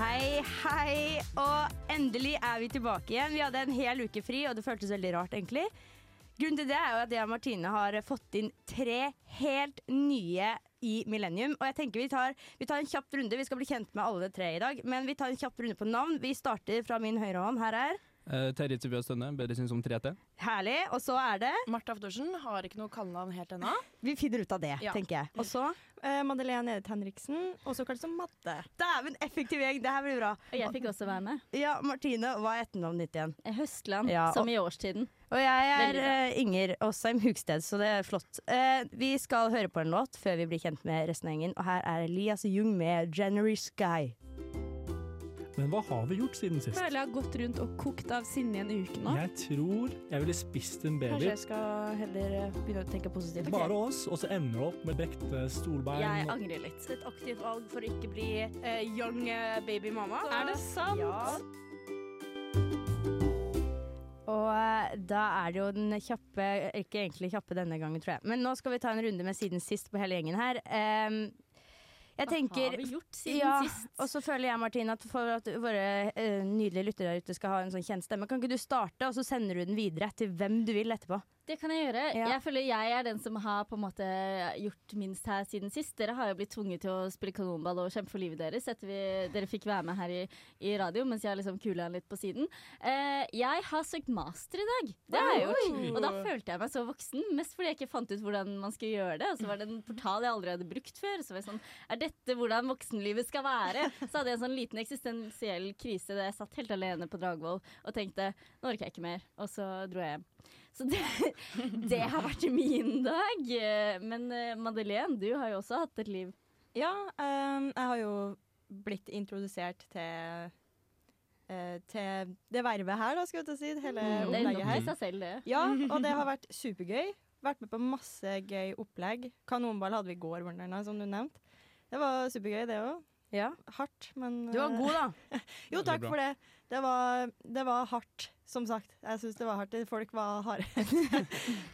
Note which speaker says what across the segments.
Speaker 1: Hei, hei, og endelig er vi tilbake igjen. Vi hadde en hel uke fri, og det føltes veldig rart, egentlig. Grunnen til det er jo at jeg og Martine har fått inn tre helt nye i Millennium. Og jeg tenker vi tar, vi tar en kjapp runde. Vi skal bli kjent med alle tre i dag. Men vi tar en kjapp runde på navn. Vi starter fra min høyre hånd. Her er
Speaker 2: Eh, Terje Tybjørn Stønne, bedre kjent som 3T.
Speaker 1: Herlig. Og så er det
Speaker 3: Martha Aftorsen har ikke noe kallenavn helt ennå.
Speaker 1: Vi finner ut av det,
Speaker 3: Ja.
Speaker 1: tenker jeg. Og så
Speaker 4: Eh, Madeleine Edith Henriksen, også kalt som Madde.
Speaker 1: Dæven, effektiv gjeng. Det her blir bra.
Speaker 5: Og jeg fikk også være med.
Speaker 1: Ja, Martine, hva er etternavnet ditt igjen?
Speaker 5: Høstland,
Speaker 1: Ja, og-
Speaker 5: som i årstiden.
Speaker 1: Og jeg er
Speaker 5: Veldig bra.
Speaker 1: eh, Inger Åsheim Hugsted, så det er flott. Eh, vi skal høre på en låt før vi blir kjent med resten av gjengen, og her er Elias Jung med 'January Sky'.
Speaker 6: Men hva har vi gjort siden sist?
Speaker 7: føler jeg har gått rundt og kokt av sinne i en uke nå.
Speaker 6: Jeg tror jeg ville spist en
Speaker 3: Kanskje
Speaker 6: baby.
Speaker 3: jeg skal heller eh, begynne å tenke positivt.
Speaker 6: Bare oss, og så ender det opp med brekte
Speaker 7: Jeg
Speaker 6: stolbein.
Speaker 7: angrer litt.
Speaker 1: Et aktivt valg for å ikke bli eh, young baby mamma.
Speaker 7: Er det sant?
Speaker 1: Og eh, da er det jo den kjappe Ikke egentlig kjappe denne gangen, tror jeg. Men nå skal vi ta en runde med siden sist på hele gjengen her. Em, jeg
Speaker 5: Hva
Speaker 1: tenker
Speaker 5: har vi gjort siden
Speaker 1: ja,
Speaker 5: sist?
Speaker 1: Og så føler jeg, Martine, at for at våre eh, nydelige lyttere der ute skal ha en sånn kjent stemme, kan ikke du starte, og så sender du den videre til hvem du vil etterpå?
Speaker 5: Det kan jeg gjøre.
Speaker 1: Ja.
Speaker 5: Jeg føler jeg er den som har på en måte gjort minst her siden sist. Dere har jo blitt tvunget til å spille kanonball og kjempe for livet deres etter vi, dere fikk være med her i, i radio, mens jeg har liksom kula litt på siden. Eh, jeg har søkt master i dag. Det har jeg gjort. Og da følte jeg meg så voksen. Mest fordi jeg ikke fant ut hvordan man skulle gjøre det. Og så var det en portal jeg aldri hadde brukt før. Så var jeg sånn Er dette hvordan voksenlivet skal være? Så hadde jeg en sånn liten eksistensiell krise der jeg satt helt alene på Dragvoll og tenkte Nå orker jeg ikke mer. Og så dro jeg hjem. Så det, det har vært min dag. Men eh, Madeleine, du har jo også hatt et liv.
Speaker 4: Ja, ehm, jeg har jo blitt introdusert til, eh, til det vervet her, da, skal jeg til å si.
Speaker 1: Mm,
Speaker 4: Hele
Speaker 5: Mm, Det er nok
Speaker 4: opplegget
Speaker 5: i
Speaker 4: her.
Speaker 5: seg selv, det.
Speaker 4: Ja, og det har vært supergøy. Vært med på masse gøy opplegg. Kanonball hadde vi i går, blant annet, som du nevnte. Det var supergøy, det òg.
Speaker 1: Ja.
Speaker 4: Hardt, men
Speaker 1: Du var
Speaker 4: eh,
Speaker 1: god, da.
Speaker 4: Jo,
Speaker 2: Veldig
Speaker 4: takk
Speaker 2: bra.
Speaker 4: for det. Det var, det var hardt, som sagt. Jeg syns det var hardt. Folk var harde.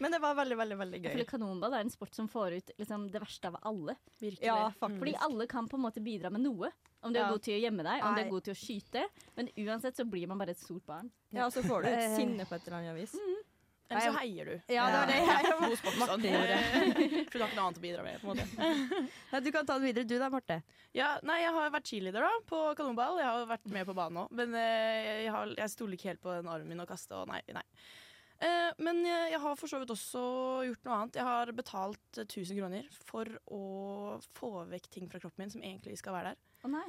Speaker 4: men det var veldig, veldig, veldig
Speaker 5: Jeg
Speaker 4: gøy.
Speaker 5: føler Kanonball er en sport som får ut liksom, det verste av alle.
Speaker 3: Virkelig.
Speaker 4: Ja,
Speaker 5: Fordi
Speaker 4: faktisk.
Speaker 5: alle kan på en måte bidra med noe. Om du er
Speaker 4: Ja.
Speaker 5: god til å gjemme deg, om du
Speaker 1: Nei.
Speaker 5: er god til å skyte. Men uansett så blir man bare et stort barn.
Speaker 4: Ja, og så får du
Speaker 1: Eh.
Speaker 4: ut sinne på et eller annet vis.
Speaker 8: Mm.
Speaker 3: Eller så heier du.
Speaker 1: Ja, det var det jeg
Speaker 3: Hos bokseren. For du har ikke noe annet å bidra med. på en måte.
Speaker 1: Nei, Du kan ta den videre, du da, Marte.
Speaker 3: Ja, nei, jeg har vært cheerleader da, på kanonball. Jeg har vært med på banen òg. Men eh, jeg, har, jeg stoler ikke helt på den armen min å kaste, og nei, nei. Eh, men jeg, jeg har for så vidt også gjort noe annet. Jeg har betalt eh, 1000 kroner for å få vekk ting fra kroppen min som egentlig skal være der.
Speaker 5: Å nei.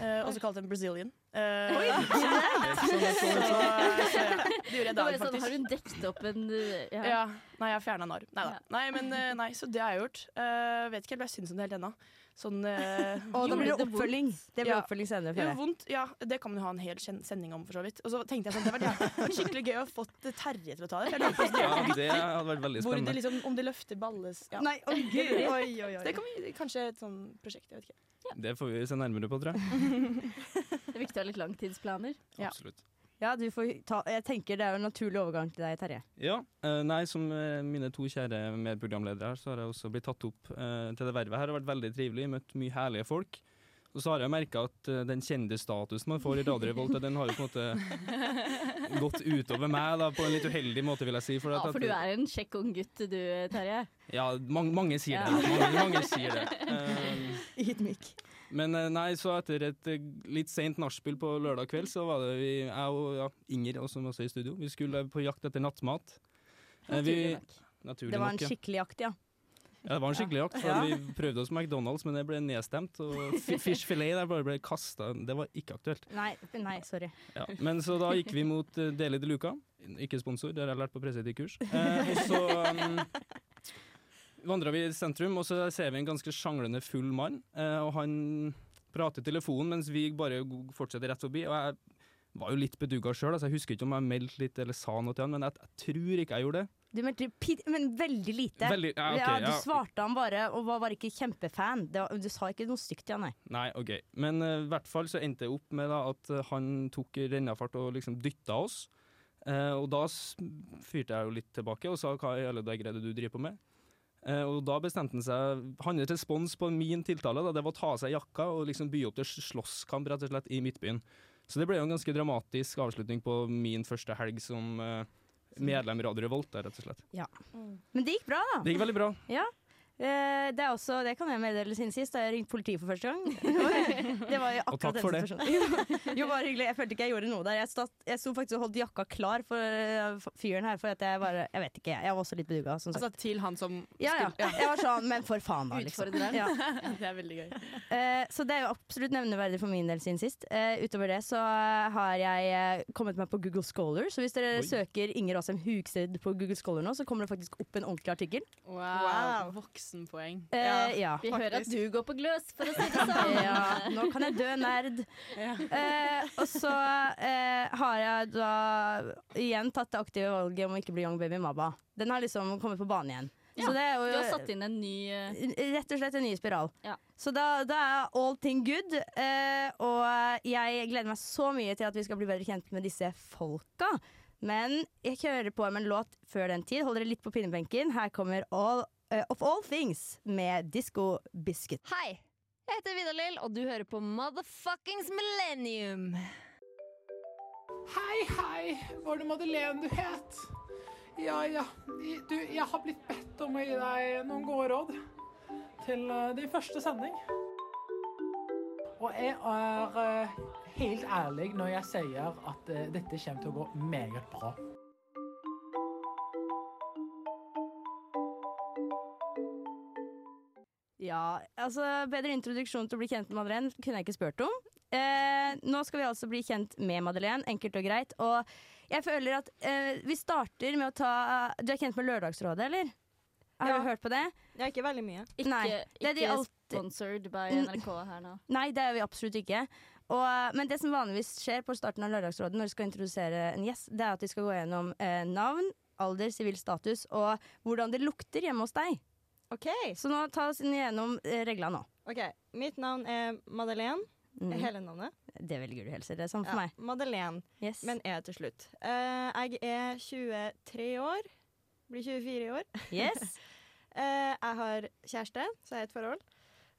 Speaker 3: Eh, også kalt en Brazilian. Eh, Så,
Speaker 6: Sånn, sånn.
Speaker 3: så ja, det gjorde jeg i
Speaker 5: Det var
Speaker 3: dag,
Speaker 5: jo sånn,
Speaker 3: faktisk.
Speaker 5: har hun dekket opp en uh, ja.
Speaker 3: Ja. Nei, jeg har fjerna narr. Nei da.
Speaker 5: Ja.
Speaker 3: Nei, men eh, nei, så det har jeg gjort. Eh, vet ikke helt hva jeg syns om det helt ennå. Sånn eh,
Speaker 1: Og det
Speaker 5: Gjorde
Speaker 1: blir
Speaker 5: det
Speaker 1: oppfølging. Det blir
Speaker 3: Ja.
Speaker 1: oppfølging senere.
Speaker 3: jo,
Speaker 1: føler jeg.
Speaker 3: vondt. Ja, det kan man jo ha en hel kjen- sending om, for så vidt. Og så tenkte jeg sånn, det hadde vært- vært skikkelig gøy å få Terje til å ta det. for jeg lurer på
Speaker 2: Ja, det hadde vært veldig
Speaker 3: Hvor de
Speaker 2: spennende.
Speaker 3: liksom, om de løfter balles ja.
Speaker 1: Nei, å gud!
Speaker 4: Oi, oi,
Speaker 3: Så
Speaker 4: oi.
Speaker 3: Det kan vi, kanskje et sånn prosjekt, jeg vet ikke.
Speaker 2: Det får vi se nærmere på, tror jeg.
Speaker 5: Det er viktig å ha litt langtidsplaner.
Speaker 3: Ja.
Speaker 2: Absolutt.
Speaker 1: Ja, du får ta Jeg tenker det er jo en naturlig overgang til deg, Terje.
Speaker 2: Ja, eh, nei, som eh, mine to kjære medprogramledere her, så har jeg også blitt tatt opp eh, til det vervet her. Det har vært veldig trivelig, møtt mye herlige folk. Og så har jeg merka at eh, den kjendisstatusen man får i Radio Revolt, den har jo på en måte gått utover meg da, på en litt uheldig måte, vil jeg si.
Speaker 5: Ja,
Speaker 2: at-
Speaker 5: for du er en kjekk ung gutt du, Terje.
Speaker 2: Ja, mange, mange sier
Speaker 5: Ja.
Speaker 2: det. Mange, mange sier det. Eh,
Speaker 1: Ydmyk.
Speaker 2: Men eh, nei, så etter et eh, litt seint nachspiel på lørdag kveld, så var det vi, jeg og ja, Inger, også, som også er i studio, vi skulle eh, på jakt etter nattmat. Eh, vi-
Speaker 5: Naturlig nok.
Speaker 2: naturlig
Speaker 1: Det var en
Speaker 2: nok, ja.
Speaker 1: skikkelig jakt, ja.
Speaker 2: Ja, det var en skikkelig jakt. for
Speaker 1: Ja.
Speaker 2: Vi prøvde oss McDonald's, men det ble nedstemt. Og fi- fish fillet der bare ble kasta. Det var ikke aktuelt.
Speaker 1: Nei, nei, sorry.
Speaker 2: Ja. Men så da gikk vi mot eh, Deli de Luca. Ikke sponsor, det har jeg lært på presseetikkkurs. Eh, og så um, vandra vi i sentrum, og så ser vi en ganske sjanglende full mann. Eh, og han prater i telefonen mens vi bare g- fortsetter rett forbi. Og jeg var jo litt bedugga sjøl, altså jeg husker ikke om jeg meldte litt eller sa noe til han, men jeg, jeg tror ikke jeg gjorde det.
Speaker 1: Du meldte pit, men veldig lite.
Speaker 2: Veldig, ja, ok,
Speaker 1: ja, du
Speaker 2: ja.
Speaker 1: svarte han bare, og var bare ikke kjempefan. Det var, du sa ikke noe stygt til han, nei.
Speaker 2: Nei, ok. Men eh, i hvert fall så endte jeg opp med da, at eh, han tok i rennafart og liksom dytta oss. Eh, og da s- fyrte jeg jo litt tilbake og sa hva i alle dager er det du driver på med? Eh, og da bestemte han seg Hans respons på min tiltale da, det var å ta av seg jakka og liksom by opp til sl- slåsskamp rett og slett i Midtbyen. Så det ble jo en ganske dramatisk avslutning på min første helg som eh, medlem i Radio Revolt, da, rett og slett.
Speaker 3: Mm.
Speaker 1: Men det gikk bra, da.
Speaker 2: Det gikk veldig bra.
Speaker 1: Eh, det er også, det kan jeg meddele siden sist, da jeg ringte politiet for første gang. det var jo
Speaker 2: Og takk
Speaker 1: akkurat
Speaker 2: for
Speaker 1: den
Speaker 2: det.
Speaker 1: situasjonen. Jo, jo, bare hyggelig. Jeg følte ikke jeg gjorde noe der. Jeg sto, jeg sto faktisk og holdt jakka klar for eh, for fyren her, for at jeg bare Jeg vet ikke, jeg var også litt beduga, som sagt.
Speaker 3: Altså til han som
Speaker 1: Ja, ja. Jeg var sånn, men for faen, da, liksom.
Speaker 5: Utfordreren.
Speaker 1: Ja.
Speaker 3: Ja, det er veldig gøy.
Speaker 1: Eh, så det er jo absolutt nevneverdig for min del siden sist. Eh, utover det så eh, har jeg eh, kommet meg på Google Scholar, så hvis dere
Speaker 2: Oi.
Speaker 1: søker Inger Asheim Hugsted på Google Scholar nå, så kommer det faktisk opp en ordentlig artikkel.
Speaker 3: Wow. Voksenpoeng.
Speaker 1: Eh, ja.
Speaker 5: Vi hører at du går på gløs, for å si det
Speaker 1: Ja.
Speaker 5: sånn.
Speaker 1: nå kan jeg dø nerd.
Speaker 3: Ja.
Speaker 1: Eh, og så eh, har jeg da igjen tatt det aktive valget om å ikke bli Young Baby Mabba. Den har liksom kommet på banen igjen.
Speaker 5: Ja,
Speaker 1: Så det er jo
Speaker 5: Du har satt inn en ny eh,
Speaker 1: Rett og slett en ny spiral.
Speaker 5: Ja.
Speaker 1: Så da, da er all thing good. eh, og jeg gleder meg så mye til at vi skal bli bedre kjent med disse folka. Men jeg hører på med en låt før den tid. Hold dere litt på pinnebenken. Her kommer All eh, Of All Things med Disco Biscuit.
Speaker 8: Hei, jeg heter Vidar-Lill, og du hører på Motherfuckings Millennium.
Speaker 9: Hei, hei, var det Madeleine du het? Ja, ja, i- du, jeg har blitt bedt om å gi deg noen gode råd til eh, din første sending. Og jeg er eh, helt ærlig når jeg sier at eh, dette kommer til å gå meget bra.
Speaker 1: Ja, altså Bedre introduksjon til å bli kjent med Madeleine kunne jeg ikke spurt om. Eh, nå skal vi altså bli kjent med Madeleine, enkelt og greit. Og jeg føler at eh, vi starter med å ta Du er kjent med Lørdagsrådet, eller? Har
Speaker 4: Ja.
Speaker 1: du hørt på det?
Speaker 4: Ja, ikke veldig mye.
Speaker 5: ikke,
Speaker 1: Nei, det er de
Speaker 5: ikke
Speaker 1: alltid-
Speaker 5: sponsored by
Speaker 1: Mm.
Speaker 5: NRK her nå.
Speaker 1: Nei, det er vi absolutt ikke. Og, men det som vanligvis skjer på starten av Lørdagsrådet når vi skal introdusere en gjest, det er at vi skal gå gjennom eh, navn, alder, sivil status og hvordan det lukter hjemme hos deg.
Speaker 4: OK.
Speaker 1: Så nå ta oss inn gjennom eh, reglene nå.
Speaker 4: ok. Mitt navn er Madeleine.
Speaker 1: Mm.
Speaker 4: Hele navnet.
Speaker 1: Det velger du helst, det er samme for
Speaker 4: Ja,
Speaker 1: meg.
Speaker 4: Madeleine,
Speaker 1: Yes.
Speaker 4: men E til slutt. Eh, jeg er 23 år. Blir 24 i år.
Speaker 1: yes.
Speaker 4: Eh, jeg har kjæreste, så jeg er i et forhold.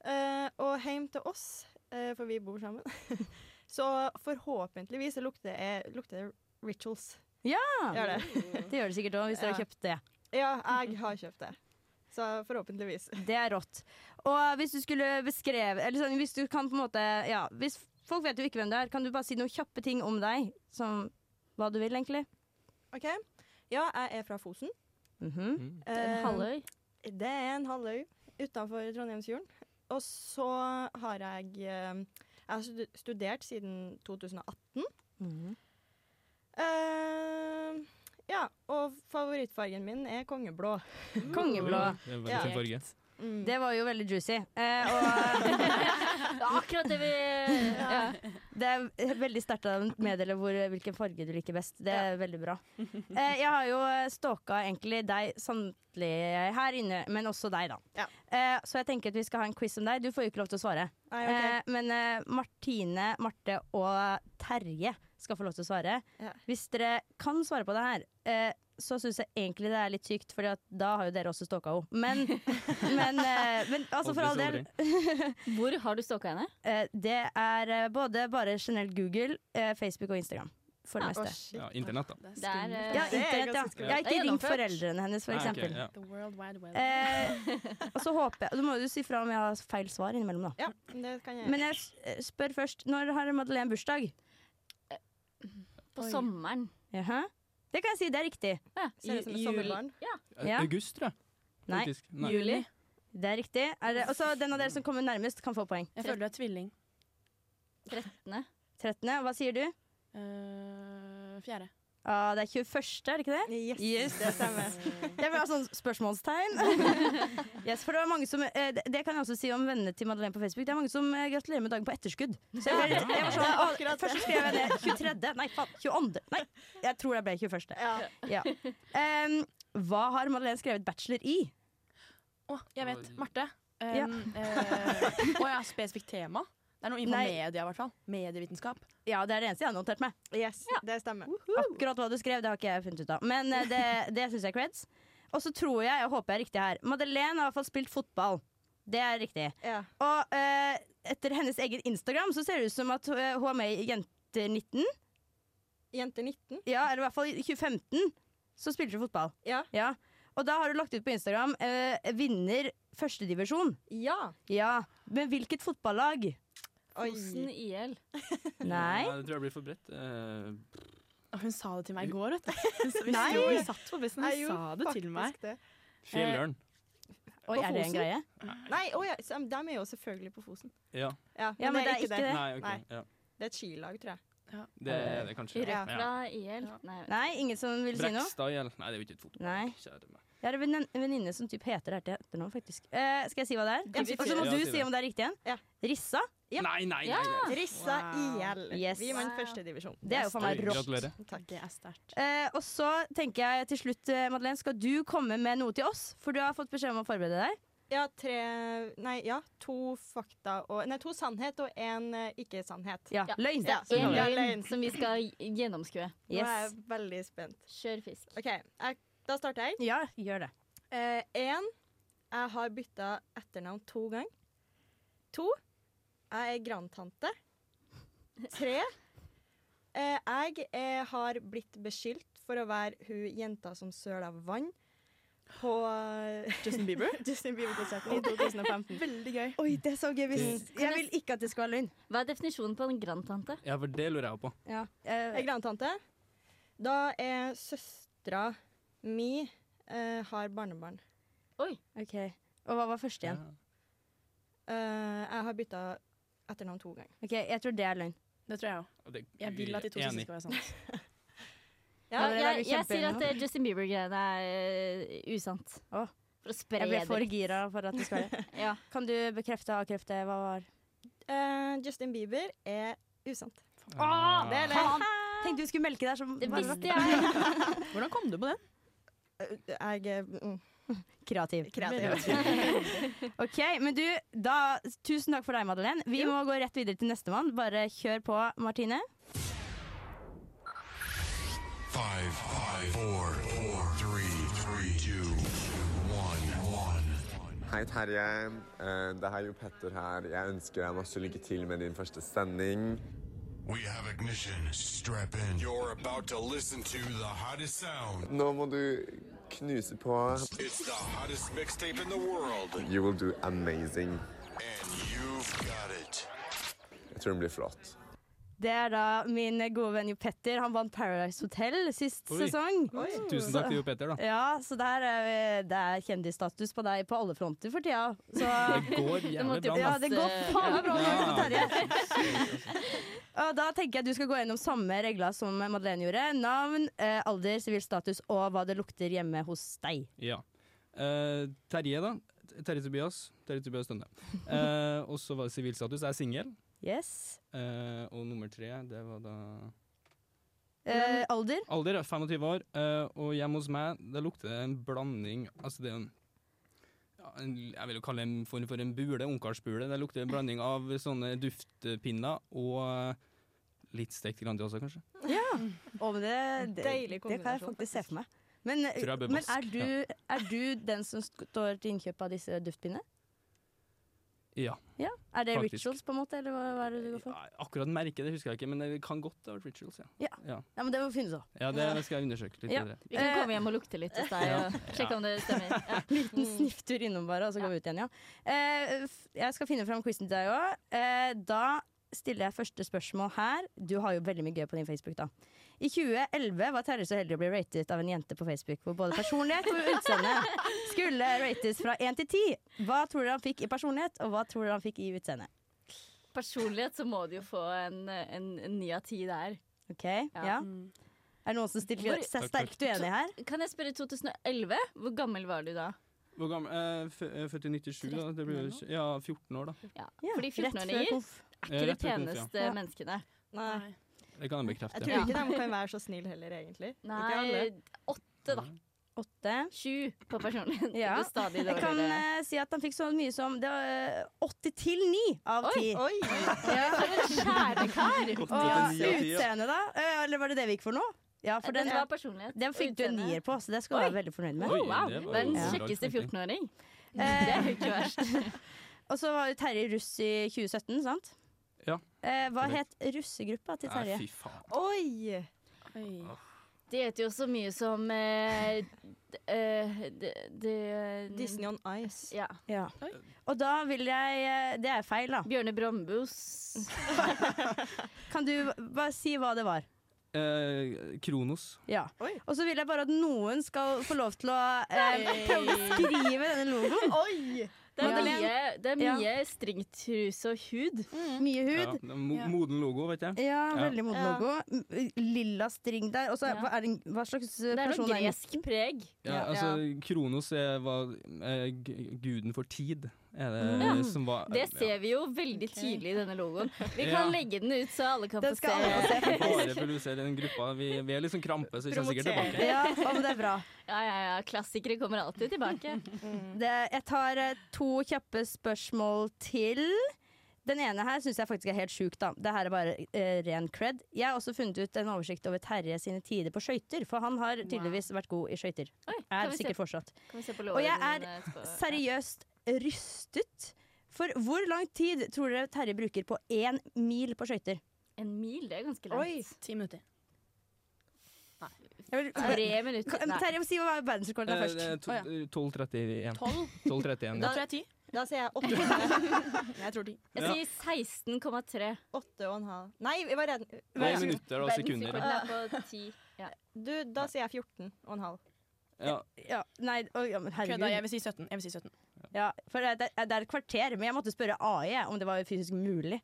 Speaker 4: Eh, og hjem til oss, eh, for vi bor sammen, så forhåpentligvis så lukter det lukter det rituals.
Speaker 1: Ja!
Speaker 4: Gjør det.
Speaker 3: Mm.
Speaker 1: Det gjør det sikkert òg, hvis dere
Speaker 4: Ja.
Speaker 1: har kjøpt det.
Speaker 4: Ja, jeg har kjøpt det. Så forhåpentligvis.
Speaker 1: Det er rått. Og hvis du skulle beskreve Eller sånn, hvis du kan på en måte Ja, hvis folk vet jo ikke hvem du er, kan du bare si noen kjappe ting om deg? Som hva du vil, egentlig.
Speaker 4: OK. Ja, jeg er fra Fosen.
Speaker 1: Mhm.
Speaker 4: Eh,
Speaker 5: En halvøy.
Speaker 4: Det er en halvøy utenfor Trondheimsfjorden. Og så har jeg eh, Jeg har stud- studert siden 2018.
Speaker 1: Mhm.
Speaker 4: Eh, ja, og favorittfargen min er kongeblå. mm.
Speaker 1: Kongeblå.
Speaker 2: Det er en
Speaker 4: Ja.
Speaker 2: veldig fin farge.
Speaker 4: Mm.
Speaker 1: Det var jo veldig juicy. Eh, og
Speaker 5: Det er akkurat det vi ja.
Speaker 1: det er veldig sterkt å meddele hvor, hvilken farge du liker best. Det er veldig bra. Eh, jeg har jo stalka egentlig deg samtlige her inne, men også deg, da.
Speaker 4: Ja.
Speaker 1: Eh, så jeg tenker at vi skal ha en quiz om deg. Du får jo ikke lov til å svare.
Speaker 4: Nei, ok.
Speaker 1: Eh, men eh, Martine, Marte og Terje skal få lov til å svare.
Speaker 4: Ja.
Speaker 1: Hvis dere kan svare på det her, eh, så syns jeg egentlig det er litt sykt, for da har jo dere også stalka henne. Men, men, eh, men altså, for all del.
Speaker 5: Hvor har du stalka henne?
Speaker 1: eh, det er eh, både bare generelt Google, eh, Facebook og Instagram. For det meste.
Speaker 2: Ja, internett, da.
Speaker 5: Det er, eh,
Speaker 1: Ja,
Speaker 4: Det er
Speaker 1: internett, ja.
Speaker 4: ganske
Speaker 1: Jeg har ikke
Speaker 5: skummelt.
Speaker 1: ringt
Speaker 5: Det er
Speaker 1: foreldrene hennes, for
Speaker 2: Nei, Ah, ok,
Speaker 1: eksempel.
Speaker 2: ja.
Speaker 3: The world wide web.
Speaker 1: Eh, og så håper jeg Du må jo si fra om jeg har feil svar innimellom, da.
Speaker 4: Ja, det kan jeg.
Speaker 1: Men jeg s- eh, spør først, når har Madeleine bursdag?
Speaker 5: På sommeren.
Speaker 1: Jaha. Det kan jeg si, det er riktig.
Speaker 5: Ja.
Speaker 4: Ser ut som et sommerbarn.
Speaker 1: Ja.
Speaker 2: August, tror jeg.
Speaker 1: Nei.
Speaker 2: Faktisk. Nei.
Speaker 5: Juli.
Speaker 1: Det er riktig. Er det, også den av dere som kommer nærmest, kan få poeng.
Speaker 3: Jeg føler du er tvilling.
Speaker 5: 13.
Speaker 1: 13. Hva sier du?
Speaker 3: Eh, fjerde.
Speaker 1: Ah, det er 21., er det ikke det?
Speaker 4: Yes,
Speaker 1: Yes.
Speaker 4: det stemmer.
Speaker 1: Jeg vil ha sånn spørsmålstegn. yes, for det, var mange som, eh, det- det kan jeg også si om vennene til Madeleine på Facebook. Det er mange som eh, gratulerer med dagen på etterskudd. Så jeg ble litt, jeg var sånn, ah, først så skrev jeg ned 23. Nei, faen. 22. Nei, jeg tror det ble 21.
Speaker 4: Ja.
Speaker 1: Ja. Em, hva har Madeleine skrevet bachelor i?
Speaker 3: Å, jeg vet. Marte. Um,
Speaker 1: Ja.
Speaker 3: eh, å ja, spesifikt tema. Det er noe innenfor
Speaker 1: Nei.
Speaker 3: media, i hvert fall. Medievitenskap.
Speaker 1: Ja, det er det eneste jeg har notert meg.
Speaker 4: Yes, det stemmer.
Speaker 1: Akkurat hva du skrev, det har ikke jeg funnet ut av. Men eh, det, det syns jeg er creds. Og så tror jeg, jeg håper jeg er riktig her, Madeleine har i hvert fall spilt fotball. Det er riktig.
Speaker 4: Ja.
Speaker 1: Og eh, etter hennes egen Instagram så ser det ut som at eh, hun er med i Jenter 19.
Speaker 4: Jente 19.
Speaker 1: Ja, eller i hvert fall i 2015 så spilte hun fotball.
Speaker 4: Ja.
Speaker 1: Og da har hun lagt ut på Instagram eh, 'vinner førstedivisjon'.
Speaker 4: Ja.
Speaker 1: Ja. Men hvilket fotballag?
Speaker 4: Oi.
Speaker 5: Fosen IL.
Speaker 1: Nei.
Speaker 2: det tror jeg blir for bredt. Eh,
Speaker 3: Hun sa det til meg i går, vet du. Hun, vi,
Speaker 1: Nei.
Speaker 3: sto, vi satt på bussen,
Speaker 4: Nei,
Speaker 3: hun
Speaker 4: jo,
Speaker 3: sa det til
Speaker 4: faktisk
Speaker 3: meg.
Speaker 4: det.
Speaker 2: Fjellørn.
Speaker 1: Oi,
Speaker 4: På
Speaker 1: er det
Speaker 4: Fosen?
Speaker 1: en greie?
Speaker 4: Nei, å ja, så, de er jo selvfølgelig på Fosen.
Speaker 2: Ja.
Speaker 4: Ja,
Speaker 1: Ja, men Eh, det er ikke det.
Speaker 2: Nei, ok.
Speaker 4: Nei.
Speaker 2: Ja.
Speaker 4: Det er et skilag, tror jeg.
Speaker 2: Det er det kanskje.
Speaker 4: Ja.
Speaker 5: Rødt fra IL. Nei.
Speaker 1: Nei, ingen som vil si noe?
Speaker 2: Brekstad IL. Nei, det er jo ikke et
Speaker 1: Nei.
Speaker 2: fotballag. Kjære meg.
Speaker 1: Jeg har en venin- en venninne som typ heter det her til etternavn, faktisk. Eh, skal jeg si hva det er?
Speaker 4: Ja, si
Speaker 1: Og så må
Speaker 2: det.
Speaker 1: du
Speaker 2: Ja, si
Speaker 1: si
Speaker 2: det.
Speaker 1: om det er riktig igjen.
Speaker 4: Ja.
Speaker 1: Rissa.
Speaker 4: Ja.
Speaker 2: Nei, nei, nei.
Speaker 5: Ja.
Speaker 2: nei.
Speaker 4: Rissa
Speaker 3: Wow.
Speaker 4: IL.
Speaker 1: Yes.
Speaker 4: Vi vant
Speaker 5: Wow.
Speaker 4: førstedivisjon.
Speaker 1: Det er jo faen meg
Speaker 2: Oi,
Speaker 1: rått.
Speaker 2: Gratulerer.
Speaker 4: Takk.
Speaker 3: Det er sterkt.
Speaker 1: Eh, og så tenker jeg til slutt, eh, Madeleine, skal du komme med noe til oss? For du har fått beskjed om å forberede deg.
Speaker 4: Ja, tre Nei, ja, to fakta og Nei, to sannhet og eh, én ikke-sannhet.
Speaker 1: Ja,
Speaker 5: Ja.
Speaker 1: løgn.
Speaker 4: Ja.
Speaker 1: Så
Speaker 5: En
Speaker 1: kommer det.
Speaker 5: løgn som vi skal gjennomskue.
Speaker 4: Nå er jeg
Speaker 1: Yes.
Speaker 4: veldig spent.
Speaker 5: Kjør fisk.
Speaker 4: OK, jeg, da starter jeg.
Speaker 1: Ja, gjør det.
Speaker 4: Én jeg har bytta etternavn to ganger. To jeg er grandtante. Tre eh, jeg eh, har blitt beskyldt for å være hun jenta som søla vann på eh,
Speaker 3: Justin Bieber.
Speaker 4: Justin Bieber-konserten i 2015.
Speaker 3: Veldig gøy.
Speaker 1: Oi, det er så gøy.
Speaker 2: hvis-
Speaker 1: Jeg vil ikke at det skal være løgn.
Speaker 5: Hva er definisjonen på en grandtante?
Speaker 2: Ja, for det lurer jeg på.
Speaker 1: Eh,
Speaker 4: Jeg er grandtante. Da er søstera mi eh, har barnebarn.
Speaker 1: ok. Og hva var første igjen?
Speaker 4: Eh, jeg har bytta etternavn to ganger.
Speaker 1: Ok, Jeg tror det er løgn.
Speaker 3: Det tror jeg òg.
Speaker 2: Ja, det-
Speaker 3: Jeg vil at de to siste
Speaker 2: Enig.
Speaker 3: skal være sånn. sant.
Speaker 4: Ja,
Speaker 5: Ja, jeg,
Speaker 1: det er
Speaker 5: jeg
Speaker 1: vi
Speaker 5: sier
Speaker 1: kjempeenige
Speaker 5: at eh, Justin Bieber-greiene er eh, usant.
Speaker 1: Å.
Speaker 5: For å spre
Speaker 1: Jeg ble for
Speaker 5: det.
Speaker 1: gira for at det skal være
Speaker 5: Ja.
Speaker 1: Kan du bekrefte og avkrefte hva var
Speaker 4: Eh, Justin Bieber er usant.
Speaker 2: Ah.
Speaker 4: Det er løgn.
Speaker 5: Faen,
Speaker 1: Tenkte du skulle melke der som
Speaker 5: det visste jeg!
Speaker 3: Hvordan kom du på den?
Speaker 4: Jeg er mm,
Speaker 1: kreativ.
Speaker 4: kreativ.
Speaker 1: Ok, men du, da, Tusen takk for deg, Madeleine. Vi må gå rett videre til nestemann. Bare kjør på, Martine.
Speaker 10: Five, five, four, four, three, three, two, one, one.
Speaker 11: Hei Terje, Eh, det er jo Petter her. Jeg ønsker deg masse lykke til med din første sending.
Speaker 10: We have ignition. Strap in. You're about to listen to the hottest sound.
Speaker 11: Nå må du knuse på.
Speaker 10: It's the hottest mixtape in the world.
Speaker 11: You will do amazing.
Speaker 10: And you've got it.
Speaker 11: Jeg tror den blir flott.
Speaker 1: Det er da min gode venn Jo Petter. Han vant Paradise Hotel sist
Speaker 2: Oi.
Speaker 1: sesong.
Speaker 2: Tusen takk til Jo Peter, da.
Speaker 1: Ja, så der er, vi- det er kjendisstatus på deg på alle fronter for tida. Så
Speaker 2: Det går jævlig
Speaker 5: måtte jo
Speaker 2: bra.
Speaker 1: ja,
Speaker 2: da.
Speaker 1: det går faen meg bra nå,
Speaker 2: Ja.
Speaker 1: Jon Terje. Og da tenker jeg du skal gå gjennom samme regler som Madeleine gjorde. Navn, eh, alder, sivil status og hva det lukter hjemme hos deg.
Speaker 2: Ja. Eh, Terje, da. Terje Tobias. Terje Tobias Dønne. Eh, og så var det sivilstatus. Jeg er singel.
Speaker 1: Yes.
Speaker 2: Eh, og nummer tre, det var da
Speaker 1: Eh, alder?
Speaker 2: Alder, ja, 25 år. eh, og hjemme hos meg, det lukter det en blanding Altså, det er en ja, en, jeg vil jo kalle det en form for en bule, ungkarsbule. Det lukter en blanding av sånne duftpinner og eh, litt stekt grandi også, kanskje.
Speaker 1: Å, men det, det,
Speaker 4: Mm. Deilig
Speaker 1: det kan jeg
Speaker 4: kombinasjon,
Speaker 1: faktisk se for meg. Men,
Speaker 2: Tror jeg bør
Speaker 1: men
Speaker 2: vaske,
Speaker 1: er, du, er du den som sk- står til innkjøp av disse duftpinnene?
Speaker 2: Ja.
Speaker 1: Ja. Er det
Speaker 2: Faktisk.
Speaker 1: rituals, på en måte? Eller hva, hva er det du går for?
Speaker 2: Ja, Akkurat merket det husker jeg ikke, men det kan godt ha vært rituals, ja.
Speaker 1: Ja.
Speaker 2: ja.
Speaker 1: Ja, men Det må finnes òg.
Speaker 2: Ja, det skal jeg undersøke litt
Speaker 1: Ja.
Speaker 2: bedre.
Speaker 5: Vi kan komme hjem og lukte litt hos deg og sjekke om det stemmer. Ja.
Speaker 1: Liten
Speaker 5: Mm.
Speaker 1: snifftur innom bare, og så går vi ut igjen, ja. Eh, f- jeg skal finne fram quizen til deg òg. Eh, da stiller jeg første spørsmål her. Du har jo veldig mye gøy på din Facebook, da. I 2011 var Terje så heldig å bli ratet av en jente på Facebook, hvor både personlighet og utseende skulle rates fra 1 til 10. Hva tror dere han fikk i personlighet, og hva tror dere han fikk i utseende?
Speaker 5: Personlighet så må du jo få en, en, en ni av ti der.
Speaker 1: Ok, ja.
Speaker 5: Ja. mm.
Speaker 1: Er det noen som stiller
Speaker 5: Hvor-
Speaker 1: seg
Speaker 2: Takk, takk.
Speaker 1: sterkt uenig her?
Speaker 5: Kan jeg spørre 2011? Hvor gammel var du da?
Speaker 2: Hvor gammel eh, fø- eh, Født i 97, da. Det blir jo tj- ja, 14 år, da.
Speaker 5: Ja.
Speaker 1: Ja,
Speaker 5: Fordi
Speaker 1: rett før
Speaker 5: 14-åringer
Speaker 1: konf.
Speaker 5: er ikke de
Speaker 2: rett før konf, ja.
Speaker 5: peneste
Speaker 1: Ja.
Speaker 5: menneskene.
Speaker 4: Nei.
Speaker 2: Det kan jeg
Speaker 4: Jeg
Speaker 2: bekrefte.
Speaker 4: tror
Speaker 2: Ja.
Speaker 4: ikke de kan være så snille heller, egentlig. Ikke
Speaker 5: Nei,
Speaker 4: alle.
Speaker 5: åtte, da.
Speaker 1: Åtte.
Speaker 5: Sju på personlighet. Det
Speaker 1: Ja.
Speaker 5: blir stadig
Speaker 1: Jeg kan
Speaker 5: dårligere.
Speaker 1: eh, si at han fikk så mye som det var, eh, åtte til ni av
Speaker 5: Oi.
Speaker 1: ti.
Speaker 4: Oi!
Speaker 5: For en kjære kar!
Speaker 1: Og
Speaker 2: til ni av ti, ja.
Speaker 1: utseende, da? Eh, Eller var det det vi gikk for nå? Ja, for den,
Speaker 5: Den var personlighet
Speaker 1: Den
Speaker 5: og
Speaker 1: fikk du en
Speaker 5: utseende.
Speaker 1: nier på, så det skal du være veldig fornøyd med.
Speaker 5: Oi, Wow, det var jo verdens bra kjakkeste tenkning.
Speaker 1: 14-åring.
Speaker 5: Det er jo ikke
Speaker 1: verst. Og så var jo Terje russ i 2017, sant?
Speaker 2: Ja.
Speaker 1: Eh, hva
Speaker 2: Korrekt.
Speaker 1: het russegruppa til
Speaker 2: Nei,
Speaker 1: Terje?
Speaker 2: fy faen.
Speaker 1: Oi!
Speaker 5: De heter jo så mye som eh, d- eh, d- d-
Speaker 4: Mm.
Speaker 1: Disney on
Speaker 5: Ice. Ja.
Speaker 1: Ja. Og da vil jeg eh, Det er feil, da.
Speaker 5: Bjørne Brombos.
Speaker 1: kan du bare si hva det var?
Speaker 2: Eh, Kronos.
Speaker 1: Ja. Og så vil jeg bare at noen skal få lov til å eh,
Speaker 5: Nei.
Speaker 1: prøve å skrive denne logoen.
Speaker 4: Oi!
Speaker 5: Det er
Speaker 1: Madeleine.
Speaker 5: mye, det er mye
Speaker 1: Ja. Mm.
Speaker 5: stringtruse og hud.
Speaker 1: Mye
Speaker 2: Ja,
Speaker 1: hud.
Speaker 2: det er mo moden logo, vet jeg.
Speaker 1: Ja, veldig moden logo. M- eh, Lilla string der. Og så
Speaker 5: Ja.
Speaker 1: hva, er det en- hva slags
Speaker 5: Det er
Speaker 1: person
Speaker 5: noe
Speaker 1: er den?
Speaker 5: gresk preg.
Speaker 2: Ja, altså, Kronos er, var eh, g- guden for tid, er det
Speaker 5: Ja.
Speaker 2: som var
Speaker 5: Det ser vi jo veldig tydelig i denne logoen. Vi
Speaker 2: Ja.
Speaker 5: kan legge den ut så alle kan få se.
Speaker 2: Bare produsere den gruppa. Vi, vi er litt sånn krampe, så vi kommer sikkert tilbake.
Speaker 1: det er bra.
Speaker 5: Ja, ja, ja. Klassikere kommer alltid tilbake.
Speaker 1: Det, jeg tar eh, to kjappe spørsmål til. Den ene her syns jeg faktisk er helt sjuk. da. Det her er bare eh, ren cred. Jeg har også funnet ut en oversikt over Terje sine tider på skøyter, for han har tydeligvis vært god i skøyter.
Speaker 5: kan
Speaker 1: Er
Speaker 5: vi se-
Speaker 1: sikkert fortsatt.
Speaker 5: Kan vi se på
Speaker 1: Og jeg er
Speaker 5: låren, eh, etterpå?
Speaker 1: seriøst rystet. For hvor lang tid tror dere Terje bruker på én mil på skøyter?
Speaker 5: En mil, det er ganske langt.
Speaker 1: Oi.
Speaker 3: Ti minutter.
Speaker 1: Jeg vil-
Speaker 5: Tre minutter.
Speaker 1: Kan-
Speaker 5: Nei.
Speaker 1: Terje, si hva er verdensrekorden er
Speaker 2: Eh,
Speaker 1: først.
Speaker 2: det er to-
Speaker 1: Å, ja.
Speaker 2: 12.31.
Speaker 1: Tolv?
Speaker 2: 12.31, ja.
Speaker 3: jeg ti.
Speaker 4: Da sier jeg åtte.
Speaker 3: Jeg tror ti.
Speaker 2: Jeg Ja. sier
Speaker 5: 16,3.
Speaker 4: Åtte og en halv. Nei, vi var redde.
Speaker 2: Det er minutter og sekunder.
Speaker 5: Verdensrekorden er på ti. Ja.
Speaker 4: Du, da sier jeg 14 og en halv.
Speaker 2: Ja.
Speaker 1: Ja, nei, å, ja, men herregud.
Speaker 3: Kødda, jeg vil si 17. Jeg vil si 17.
Speaker 1: Ja, for det, det, det er et kvarter, men jeg måtte spørre AI om det var fysisk mulig.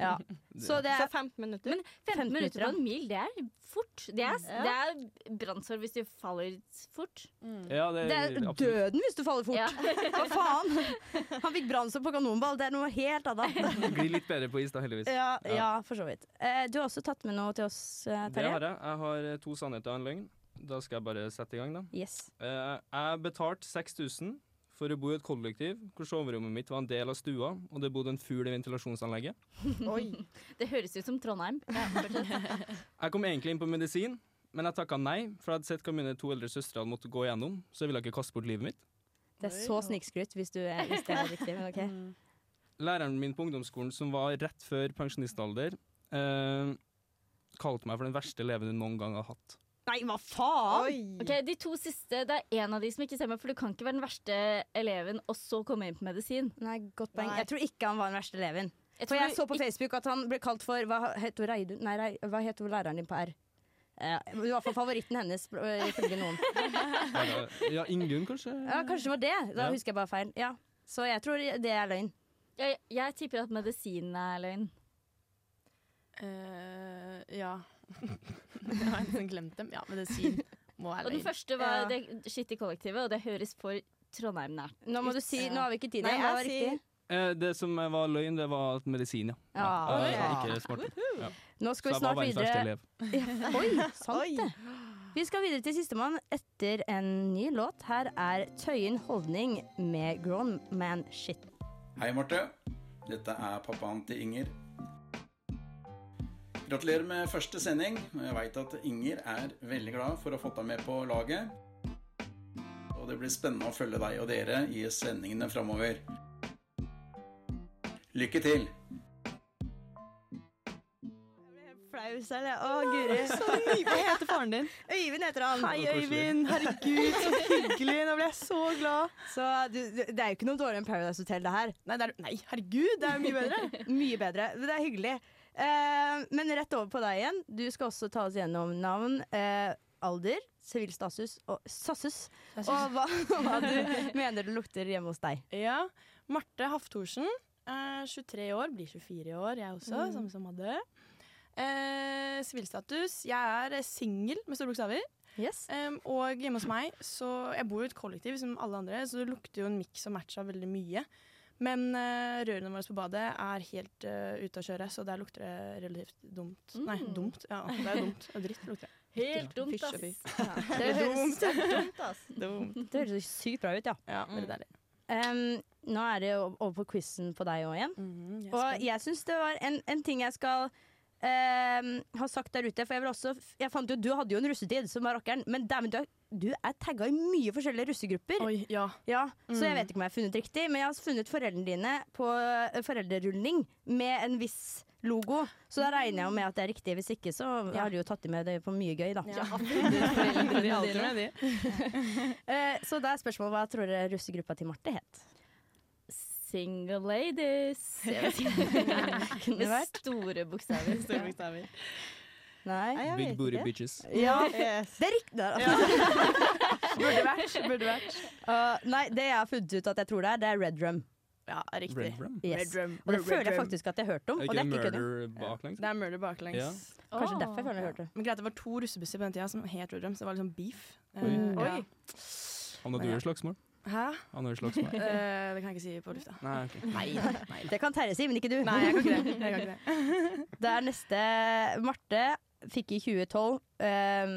Speaker 1: Ja. Så det er
Speaker 4: 15 minutter.
Speaker 5: Men 15 minutter på en mil, det er fort. Det er,
Speaker 1: Ja.
Speaker 5: det er brannsår hvis du faller fort.
Speaker 2: Ja, det,
Speaker 1: Det er
Speaker 2: absolutt.
Speaker 1: døden hvis du faller fort.
Speaker 5: Ja.
Speaker 1: Hva faen? Han fikk brannsår på kanonball. Det er noe helt annet.
Speaker 2: Glir litt bedre på is, da, heldigvis.
Speaker 1: Ja, ja, for så vidt. Eh, Du har også tatt med noe til oss, eh,
Speaker 2: Det har
Speaker 1: Terje.
Speaker 2: jeg. Jeg har eh, to sannheter og en løgn. Da skal jeg bare sette i gang, da.
Speaker 1: Yes.
Speaker 2: Eh, jeg betalte 6000 for å bo i et kollektiv hvor soverommet mitt var en del av stua, og det bodde en fugl i ventilasjonsanlegget.
Speaker 5: Det høres ut som Trondheim.
Speaker 2: Jeg kom egentlig inn på medisin, men jeg takka nei, for jeg hadde sett hva mine to eldre søstre hadde måttet gå igjennom, så jeg ville ikke kaste bort livet mitt.
Speaker 1: Det er så snikskryt hvis du eh, hvis det er riktig, men OK.
Speaker 2: Læreren min på ungdomsskolen, som var rett før pensjonistalder, eh, kalte meg for den verste eleven hun noen gang har hatt.
Speaker 1: Nei, hva faen?
Speaker 5: Ok, de to siste, Det er én av de som ikke stemmer, for du kan ikke være den verste eleven og så komme inn på medisin.
Speaker 1: Nei, godt poeng. Jeg tror ikke han var den verste eleven.
Speaker 5: Jeg
Speaker 1: for
Speaker 5: tror
Speaker 1: jeg
Speaker 5: du
Speaker 1: så på Facebook at han ble kalt for Hva het hun Reidun? Nei, Rei- hva het hun læreren din på R? Eh, I hvert fall favoritten hennes, eh, ifølge noen.
Speaker 2: Eller, Ja, Ingunn, kanskje?
Speaker 1: Ja, kanskje det var det. Da
Speaker 2: Ja.
Speaker 1: husker jeg bare feil. Ja. Så jeg tror det er løgn.
Speaker 5: Jeg, jeg tipper at medisinen er løgn.
Speaker 3: Eh, ja. jeg har nesten glemt dem. Ja, medisin må være
Speaker 5: Og den
Speaker 3: løgn.
Speaker 5: første var
Speaker 3: Ja.
Speaker 5: det skitt i kollektivet, og det høres for Trondheim nært.
Speaker 1: Nå må du si, nå har vi ikke tid igjen. Hva var riktig?
Speaker 2: Eh, det som var løgn, det var at medisin, ja.
Speaker 1: Ja,
Speaker 2: Jeg var
Speaker 1: Ah, ok.
Speaker 2: Ikke smart. Ja.
Speaker 1: Nå skal vi
Speaker 2: Så jeg var
Speaker 1: snart
Speaker 2: verdens verste
Speaker 1: videre.
Speaker 2: elev.
Speaker 1: Ja, Oi, sant det. Vi skal videre til sistemann etter en ny låt. Her er Tøyen Holdning med Grown Man Shit.
Speaker 12: Hei, Marte. Dette er pappaen til Inger. Gratulerer med første sending. og Jeg veit at Inger er veldig glad for å ha fått deg med på laget. Og det blir spennende å følge deg og dere i sendingene framover. Lykke til!
Speaker 1: Flau selv, jeg. Å, guri. Hva heter faren din? Øyvind heter han.
Speaker 3: Hei, Så koselig. Øyvind. Herregud, så
Speaker 1: hyggelig. Nå ble jeg så glad. Så du, du- Det er jo ikke noe dårligere enn Paradise Hotel, det her. Nei, herregud, det er jo mye bedre. mye bedre. Men det er hyggelig. Eh, men rett over på deg igjen. Du skal også ta oss gjennom navn, eh, alder, sivil status og sassus. Og
Speaker 3: Sassus.
Speaker 1: hva, hva du mener det lukter hjemme hos deg.
Speaker 3: Ja. Marte Hafthorsen. eh, 23 år, blir 24 i år, jeg også,
Speaker 1: Mm.
Speaker 3: samme som Madde. Eh, Sivilstatus. jeg er eh, singel, med store bokstaver. Em, og hjemme hos meg, så Jeg bor i et kollektiv som alle andre, så det lukter jo en miks og match av veldig mye. Men eh, rørene våre på badet er helt eh, ute å kjøre, så der lukter det relativt dumt. Nei,
Speaker 5: Mm.
Speaker 3: dumt. Ja, det er dumt. Det er dritt lukter det. Dritt.
Speaker 5: Helt dumt,
Speaker 3: Fysj og
Speaker 5: ass.
Speaker 3: fy.
Speaker 5: Ja.
Speaker 3: Det
Speaker 1: høres-
Speaker 3: dumt.
Speaker 1: det er dumt, ass.
Speaker 3: Dumt.
Speaker 1: Det høres jo sykt bra ut, ja.
Speaker 3: Ja, veldig deilig.
Speaker 1: Um, nå er det jo over på quizen på deg òg igjen.
Speaker 3: jeg er
Speaker 1: og
Speaker 3: spent.
Speaker 1: jeg syns det var en, en ting jeg skal eh, har sagt der ute. For jeg, vil også, jeg fant jo, Du hadde jo en russetid som var rockeren, men dæven, du, er- du er tagga i mye forskjellige russegrupper.
Speaker 3: ja.
Speaker 1: Så jeg
Speaker 3: Mm.
Speaker 1: vet ikke om jeg har funnet riktig, men jeg har funnet foreldrene dine på eh, foreldrerulling med en viss logo. Så da regner jeg jo med at det er riktig. Hvis ikke, så har du jo tatt i med det på mye gøy, da.
Speaker 3: Ja. Foreldrene De er alltid dine. med,
Speaker 1: Eh, så da er spørsmålet hva tror dere russegruppa til Marte het?
Speaker 5: Single ladies. Jeg vet ikke.
Speaker 1: Kunne
Speaker 5: Med
Speaker 1: vært.
Speaker 5: store bokstaver.
Speaker 1: Store Nei, jeg
Speaker 2: Big
Speaker 1: vet
Speaker 2: booty
Speaker 1: ikke.
Speaker 2: bitches.
Speaker 1: Ja, det er riktig. der, altså.
Speaker 3: Burde vært. Burde vært.
Speaker 1: Uh, nei, det jeg har funnet ut at jeg tror det er, det er Red Rum.
Speaker 3: Ja, er riktig.
Speaker 2: Red Rum?
Speaker 1: Yes.
Speaker 3: Red Rum.
Speaker 1: Og det
Speaker 3: Red
Speaker 1: føler jeg
Speaker 3: Rum.
Speaker 1: faktisk at jeg har hørt om. og
Speaker 2: Er ikke
Speaker 1: det er
Speaker 2: det
Speaker 1: ikke kødding.
Speaker 2: murder baklengs?
Speaker 3: Det er murder baklengs.
Speaker 2: Ja.
Speaker 1: Kanskje derfor jeg føler jeg har hørt det.
Speaker 3: Men greit, det var to russebusser på den tida som het Red Rum, så det var liksom beef. Eh,
Speaker 2: Oi.
Speaker 3: ja.
Speaker 2: Oi. Havna du i slagsmål?
Speaker 3: Hæ?
Speaker 2: Havna du i slagsmål?
Speaker 3: Eh, det kan jeg ikke si på lufta.
Speaker 2: Nei, ok.
Speaker 3: Nei, nei.
Speaker 1: Det kan Terje si, men ikke du.
Speaker 3: Nei, jeg kan ikke det. Jeg kan ikke det.
Speaker 1: Det er neste Marte fikk i 2012 ehm,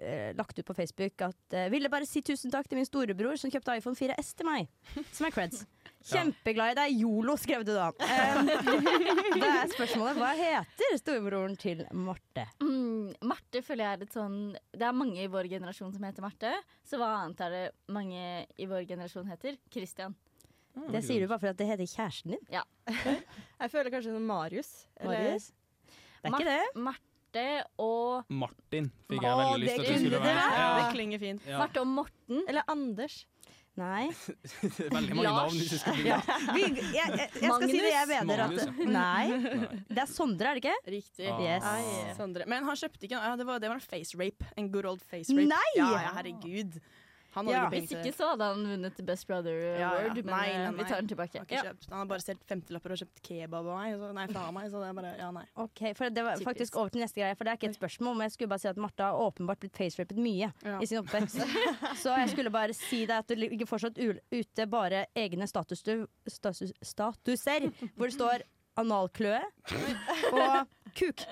Speaker 1: eh, lagt ut på Facebook at eh, Ville bare si tusen takk til min storebror som kjøpte iPhone 4S til meg. Som er creds. Kjempeglad i deg, Yolo, skrev du da. Ehm, da er spørsmålet hva heter storebroren til Marte?
Speaker 5: Mm, Marte føler jeg er et sånn Det er mange i vår generasjon som heter Marte. Så hva annet er det mange i vår generasjon heter? Christian.
Speaker 2: Mm.
Speaker 1: Det sier du bare for at det heter kjæresten din.
Speaker 5: Ja.
Speaker 4: Jeg føler kanskje sånn Marius. eller-
Speaker 1: Marius? Det er ikke det.
Speaker 5: Marte og
Speaker 2: Martin fikk
Speaker 5: Å,
Speaker 2: jeg veldig lyst
Speaker 5: det
Speaker 2: til at du
Speaker 5: kunne
Speaker 2: skulle
Speaker 5: det
Speaker 2: være.
Speaker 5: vært.
Speaker 2: Ja.
Speaker 3: Det klinger fint.
Speaker 2: Ja.
Speaker 5: Marte og Morten.
Speaker 4: Eller Anders.
Speaker 1: Nei.
Speaker 2: Det er Veldig mange
Speaker 1: Lars.
Speaker 2: navn hvis du skal bli
Speaker 1: Ja. Vi, jeg, jeg, jeg skal si det jeg mener.
Speaker 2: Magnus,
Speaker 1: At,
Speaker 2: ja.
Speaker 1: nei. Det er Sondre, er det ikke?
Speaker 3: Riktig.
Speaker 2: Ah.
Speaker 1: Yes.
Speaker 3: Sondre. Men han kjøpte ikke ja, det, var, det var en face rape. En good old face rape.
Speaker 1: Nei!
Speaker 3: Ja, ja, herregud. Han hadde
Speaker 5: Ja.
Speaker 3: ikke
Speaker 5: Hvis
Speaker 3: penger
Speaker 5: ikke
Speaker 3: til
Speaker 5: så hadde han vunnet Best Brother
Speaker 3: Ja, ja.
Speaker 5: Award, men
Speaker 3: Nei, nei,
Speaker 5: eh,
Speaker 3: nei.
Speaker 5: vi tar den tilbake.
Speaker 3: Han har, ikke kjøpt, han har bare stjålet femtilapper og kjøpt kebab av meg. Så, nei, fra meg. Så det er bare Ja, nei.
Speaker 1: Ok, for Det var
Speaker 3: Typisk.
Speaker 1: faktisk over til neste greie, for det er ikke et spørsmål. Men jeg skulle bare si at Martha har åpenbart blitt facerapet mye
Speaker 3: Ja.
Speaker 1: i sin oppvekst. Så jeg skulle bare si deg at det ligger fortsatt u- ute bare egne statusdu, status, statuser hvor det står analkløe og kuk.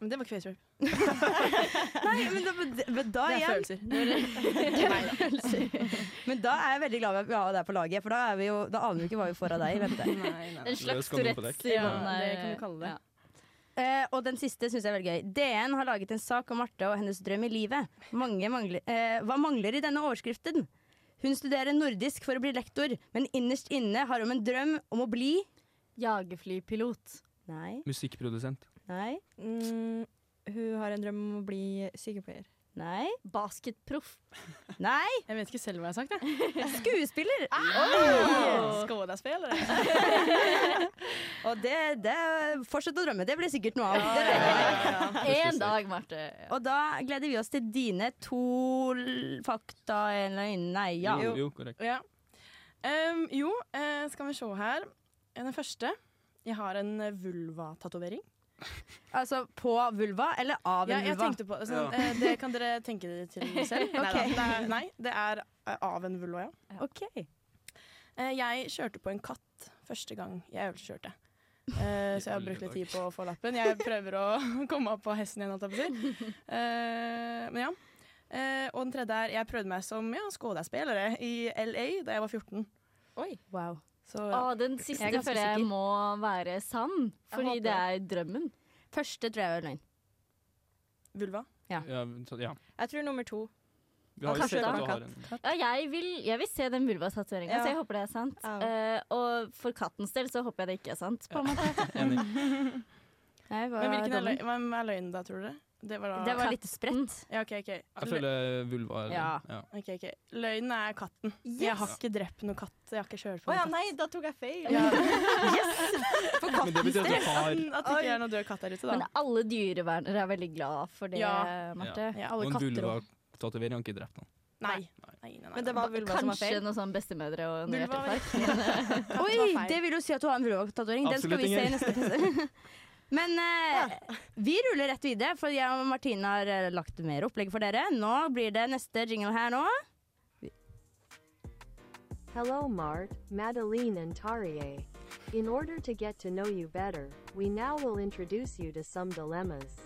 Speaker 3: Men det var ikke face rape.
Speaker 1: Nei, men da, men da
Speaker 3: Det er
Speaker 1: igjen
Speaker 3: følelser.
Speaker 1: Men da er jeg veldig glad vi har deg på laget, for da, er vi jo, da aner vi ikke hva vi får av deg i vente.
Speaker 5: En slags
Speaker 2: Løs kanon på
Speaker 5: Tourettes
Speaker 2: dekk.
Speaker 5: i
Speaker 2: Ja,
Speaker 5: bånn der.
Speaker 3: det kan du kalle det.
Speaker 5: Ja.
Speaker 1: Eh, og den siste syns jeg er veldig gøy. DN har laget en sak om Marte og hennes drøm i livet. Mange mangler, eh, hva mangler i denne overskriften? Hun studerer nordisk for å bli lektor, men innerst inne har hun en drøm om å bli
Speaker 5: Jagerflypilot.
Speaker 1: Nei.
Speaker 2: Musikkprodusent.
Speaker 1: Nei.
Speaker 4: Mm, hun har en drøm om å bli sykepleier.
Speaker 1: Nei.
Speaker 5: Basketproff.
Speaker 1: Nei.
Speaker 3: Jeg vet ikke selv hva jeg har sagt, jeg.
Speaker 1: Skuespiller!
Speaker 4: Ah!
Speaker 3: Oi!
Speaker 1: Og det, det Fortsett å drømme. Det blir sikkert noe av. Det regner jeg med.
Speaker 5: En dag, Marte.
Speaker 1: Og da gleder vi oss til dine to l- fakta eller Nei, ja.
Speaker 2: Jo, jo, korrekt.
Speaker 3: Ja. Ehm, jo, eh, skal vi se her. Den første. Jeg har en eh, vulvatatovering.
Speaker 1: Altså på vulva eller av en
Speaker 3: Ja, jeg
Speaker 1: vulva?
Speaker 3: tenkte på sånn,
Speaker 1: Ja.
Speaker 3: eh, Det kan dere tenke dere til selv. Nei, da,
Speaker 1: Ok.
Speaker 3: det er, nei, det er eh, av en vulva, ja.
Speaker 1: OK.
Speaker 3: Eh, jeg kjørte på en katt første gang jeg øvelseskjørte. Eh, så jeg har brukt litt tid på å få lappen. Jeg prøver å komme opp på hesten igjen. holdt jeg på å si. Eh, men ja. Eh, og den tredje er jeg prøvde meg som ja, skådespillere i LA da jeg var 14.
Speaker 1: Wow.
Speaker 3: Så,
Speaker 5: Å,
Speaker 3: ja.
Speaker 5: den
Speaker 3: Jeg
Speaker 5: siste
Speaker 3: er ganske
Speaker 5: føler jeg
Speaker 3: sikker.
Speaker 5: må være sann, fordi
Speaker 3: håper
Speaker 5: det er drømmen.
Speaker 1: Første tror jeg er løgn.
Speaker 3: Vulva.
Speaker 2: Ja, så- ja.
Speaker 4: Jeg tror nummer to.
Speaker 2: Vi har jo
Speaker 5: Kanskje
Speaker 2: sett
Speaker 5: det
Speaker 2: at
Speaker 5: var
Speaker 2: du har en
Speaker 5: Ja, jeg, vil, jeg vil se den vulvatatoveringa,
Speaker 4: Ja.
Speaker 5: så jeg håper det er sant.
Speaker 4: Ja.
Speaker 5: Eh, og for kattens del så håper jeg det ikke er sant. På en måte.
Speaker 1: Nei, hva
Speaker 3: Men
Speaker 1: er
Speaker 3: hvilken er
Speaker 1: dommen?
Speaker 3: løgn, hvem er løgnen da, tror dere? Det var da
Speaker 1: Det var litt spredt.
Speaker 3: Ja, ok, ok.
Speaker 2: Jeg føler vulva er
Speaker 1: Ja.
Speaker 2: ja.
Speaker 3: Ok, ok. Løgnen er katten. Jeg har
Speaker 2: Yes!
Speaker 3: ikke drept noen katt. Jeg har ikke kjørt
Speaker 4: Å
Speaker 3: på
Speaker 4: ja,
Speaker 3: noen katt.
Speaker 4: nei, da tok jeg feil.
Speaker 2: Men det betyr at du har
Speaker 3: At det ikke er noen død katt der ute,
Speaker 5: Men
Speaker 3: da.
Speaker 5: alle dyrevernere er veldig glad for det,
Speaker 3: Ja.
Speaker 5: Marte.
Speaker 3: Ja.
Speaker 2: Og
Speaker 3: Alle
Speaker 2: en
Speaker 3: katter også.
Speaker 2: vulvatatovering har ikke drept noen.
Speaker 3: Nei. Nei, nei, nei.
Speaker 4: Men det var vulva som var
Speaker 5: Kanskje
Speaker 4: feil.
Speaker 5: noen sånn bestemødre og noe
Speaker 3: Vulva var
Speaker 5: hjerteinfarkt.
Speaker 1: Oi, det vil jo si at du har en vulvatatovering. Den skal
Speaker 2: Absolutt
Speaker 1: vi se i
Speaker 2: ingen.
Speaker 1: neste test. Men eh, vi ruller rett videre, for jeg og Martine har eh, lagt mer opplegg for dere. Nå blir det neste jingle her nå.
Speaker 13: Hello, Mart, Madeline, and Tarie. In order to get to know you better, we now will introduce you to some dilemmas.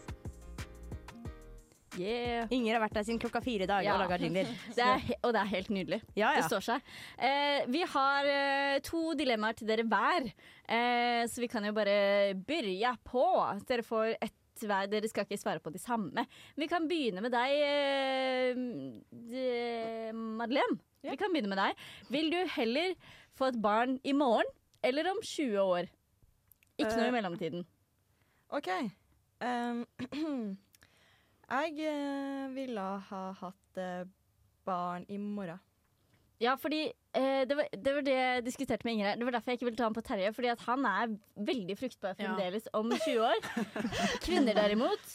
Speaker 5: Yeah.
Speaker 1: Inger har vært der siden klokka fire i dag
Speaker 5: Ja.
Speaker 1: og laga jingler.
Speaker 5: Det er, he- og det er helt nydelig.
Speaker 1: Ja, ja.
Speaker 5: Det står seg. Eh, vi har eh, to dilemmaer til dere hver, eh, så vi kan jo bare begynne på. Dere får ett litt hver. Dere skal ikke svare på de samme. Vi kan begynne med deg, eh, de- Madeleine. Vi kan begynne med deg. Vil du heller få et barn i morgen eller om 20 år? Ikke noe
Speaker 4: Eh,
Speaker 5: i mellomtiden.
Speaker 4: OK. Ehm, jeg eh, ville ha hatt eh, barn i morgen.
Speaker 5: Ja, fordi eh, det, var, det var det jeg diskuterte med Ingrid. Det var derfor jeg ikke ville ta ham på Terje. Fordi at han er veldig fruktbar
Speaker 4: Ja.
Speaker 5: fremdeles om 20 år. Kvinner derimot,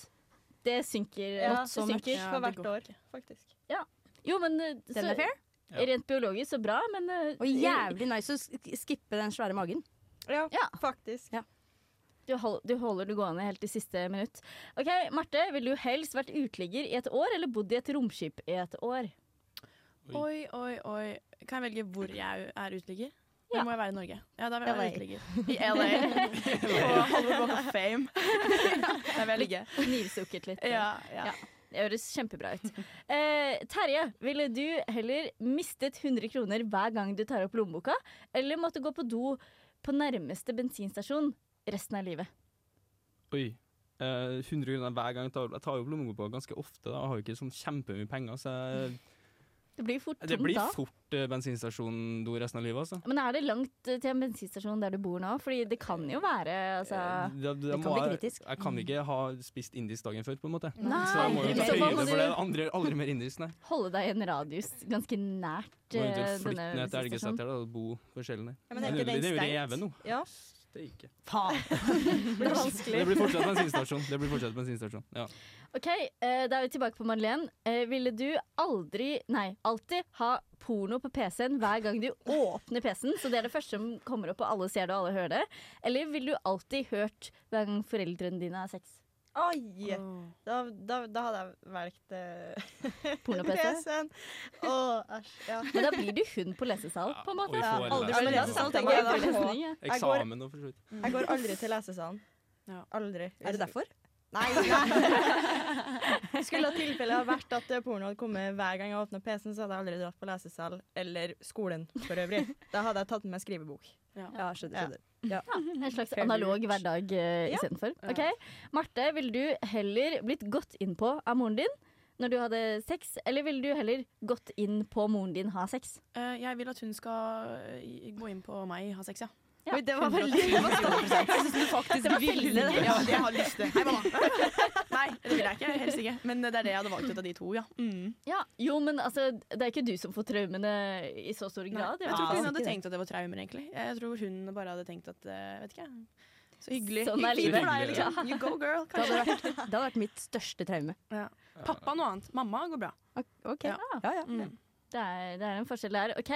Speaker 5: det synker.
Speaker 4: Ja,
Speaker 5: det
Speaker 4: det synker for hvert år, faktisk.
Speaker 5: Ja. Jo, men eh,
Speaker 1: Den
Speaker 5: så-
Speaker 1: er fair. Ja.
Speaker 5: Rent biologisk så bra, men eh,
Speaker 1: Og jævlig nice å sk- skippe den svære magen.
Speaker 4: Ja,
Speaker 5: faktisk. Du, hold, du holder det gående helt til siste minutt. Ok, Marte, ville du helst vært uteligger i et år eller bodd i et romskip i et år?
Speaker 3: Oi, oi, oi. Kan jeg velge hvor jeg er uteligger? Eller må jeg være i Norge? Ja, da vil jeg
Speaker 5: LA.
Speaker 3: være uteligger. I LA. På Hollywood Walk of Fame. Der vil jeg ligge.
Speaker 5: Nivsukket litt.
Speaker 3: Ja, ja.
Speaker 5: Det høres kjempebra ut. Eh, Terje, ville du heller mistet 100 kroner hver gang du tar opp lommeboka, eller måtte gå på do på nærmeste bensinstasjon resten av livet?
Speaker 2: Oi. Eh, 100 kroner hver gang jeg tar, jeg tar jo opp lommeboka ganske ofte. Da. Jeg har jo ikke sånn kjempemye penger, så jeg,
Speaker 5: Det blir fort
Speaker 2: det
Speaker 5: tomt
Speaker 2: blir
Speaker 5: da.
Speaker 2: fort eh, bensinstasjon-do resten av livet. Altså.
Speaker 5: Men er det langt eh, til en bensinstasjon der du bor nå? Fordi det kan jo være altså,
Speaker 2: Da- da
Speaker 5: Det kan
Speaker 2: Eh, må
Speaker 5: bli
Speaker 2: jeg-
Speaker 5: kritisk.
Speaker 2: Jeg kan ikke ha spist indisk dagen før, på en måte.
Speaker 5: Nei,
Speaker 2: så jeg må jo
Speaker 5: aldri
Speaker 2: ta
Speaker 5: mer. Så må
Speaker 2: høyde
Speaker 5: du-
Speaker 2: for det. Andre, aldri mer indisk, nei.
Speaker 5: Holde deg i en radius ganske nært
Speaker 2: Må
Speaker 5: eh,
Speaker 2: eventuelt flytte
Speaker 5: denne
Speaker 2: ned til
Speaker 5: bensinstasjonen.
Speaker 2: Elgeseter da, og bo på Skjellen der.
Speaker 5: Ja, men er ikke
Speaker 2: det,
Speaker 5: den
Speaker 2: det er jo
Speaker 5: stengt?
Speaker 2: revet nå.
Speaker 4: Ja.
Speaker 2: Steike.
Speaker 1: Faen!
Speaker 5: det blir
Speaker 2: Men Det blir fortsatt bensinstasjon. Det blir fortsatt bensinstasjon. Ja.
Speaker 5: Ok, eh, Da er vi tilbake på Madeleine. Eh, ville du aldri, nei, alltid ha porno på PC-en hver gang du åpner PC-en? Så det er det første som kommer opp, og alle ser det og alle hører det. Eller ville du alltid hørt hver gang foreldrene dine har sex?
Speaker 4: Oi! Da, da, da hadde jeg valgt uh,
Speaker 5: Porno-PC?
Speaker 4: Å, æsj. Ja.
Speaker 5: Men da blir du hun på lesesal, på en
Speaker 2: og
Speaker 5: måte.
Speaker 2: vi får
Speaker 5: Aldri
Speaker 2: lesesal. Ja,
Speaker 5: på lesesal.
Speaker 2: sant,
Speaker 5: tenker jeg.
Speaker 4: jeg går-
Speaker 5: Lesning, ja.
Speaker 4: Jeg går-
Speaker 2: Eksamen og for så vidt.
Speaker 4: Jeg går aldri til lesesalen. Aldri.
Speaker 1: Er det derfor?
Speaker 4: Nei. nei. Skulle ha tilfellet ha vært at eh, porno hadde kommet hver gang jeg åpna PC-en, så hadde jeg aldri dratt på lesesal eller skolen for øvrig. Da hadde jeg tatt med meg skrivebok.
Speaker 3: Ja,
Speaker 4: skjønner. skjønner.
Speaker 5: Ja. En slags
Speaker 4: Fair
Speaker 5: analog hverdag uh,
Speaker 4: Ja.
Speaker 5: istedenfor.
Speaker 4: Ja.
Speaker 5: Ok. Marte, ville du heller blitt gått inn på av moren din når du hadde sex, eller ville du heller gått inn på moren din ha sex?
Speaker 3: Eh, jeg vil at hun skal eh, gå inn på meg, ha sex, ja.
Speaker 5: Ja. Oi, det var veldig- det var stolt. Jeg synes du faktisk Det var ville veldig det. det.
Speaker 3: Ja, det jeg har lyst til. Hei, mamma. Nei, det vil jeg ikke. Helst ikke. Men eh, det er det jeg hadde valgt ut av de to, ja. Mm.
Speaker 5: Ja, jo, men altså, det er ikke du som får traumene i så stor
Speaker 3: Nei,
Speaker 5: grad. i
Speaker 3: jeg
Speaker 5: hvert
Speaker 3: tror ikke
Speaker 5: fall.
Speaker 3: hun hadde tenkt at det var traumer, egentlig. Jeg tror hun bare hadde tenkt at eh, Vet ikke, jeg. Så hyggelig.
Speaker 5: Sånn er
Speaker 3: hyggelig
Speaker 5: livet.
Speaker 3: for deg,
Speaker 5: Ja.
Speaker 3: liksom. You go, girl.
Speaker 1: Det hadde,
Speaker 3: Kanskje.
Speaker 1: vært, det hadde vært mitt største traume.
Speaker 3: Ja. Pappa noe annet. Mamma går bra. Mm.
Speaker 1: Ok, ja.
Speaker 5: Ja,
Speaker 1: Eh.
Speaker 5: Det er, det er en forskjell der. OK.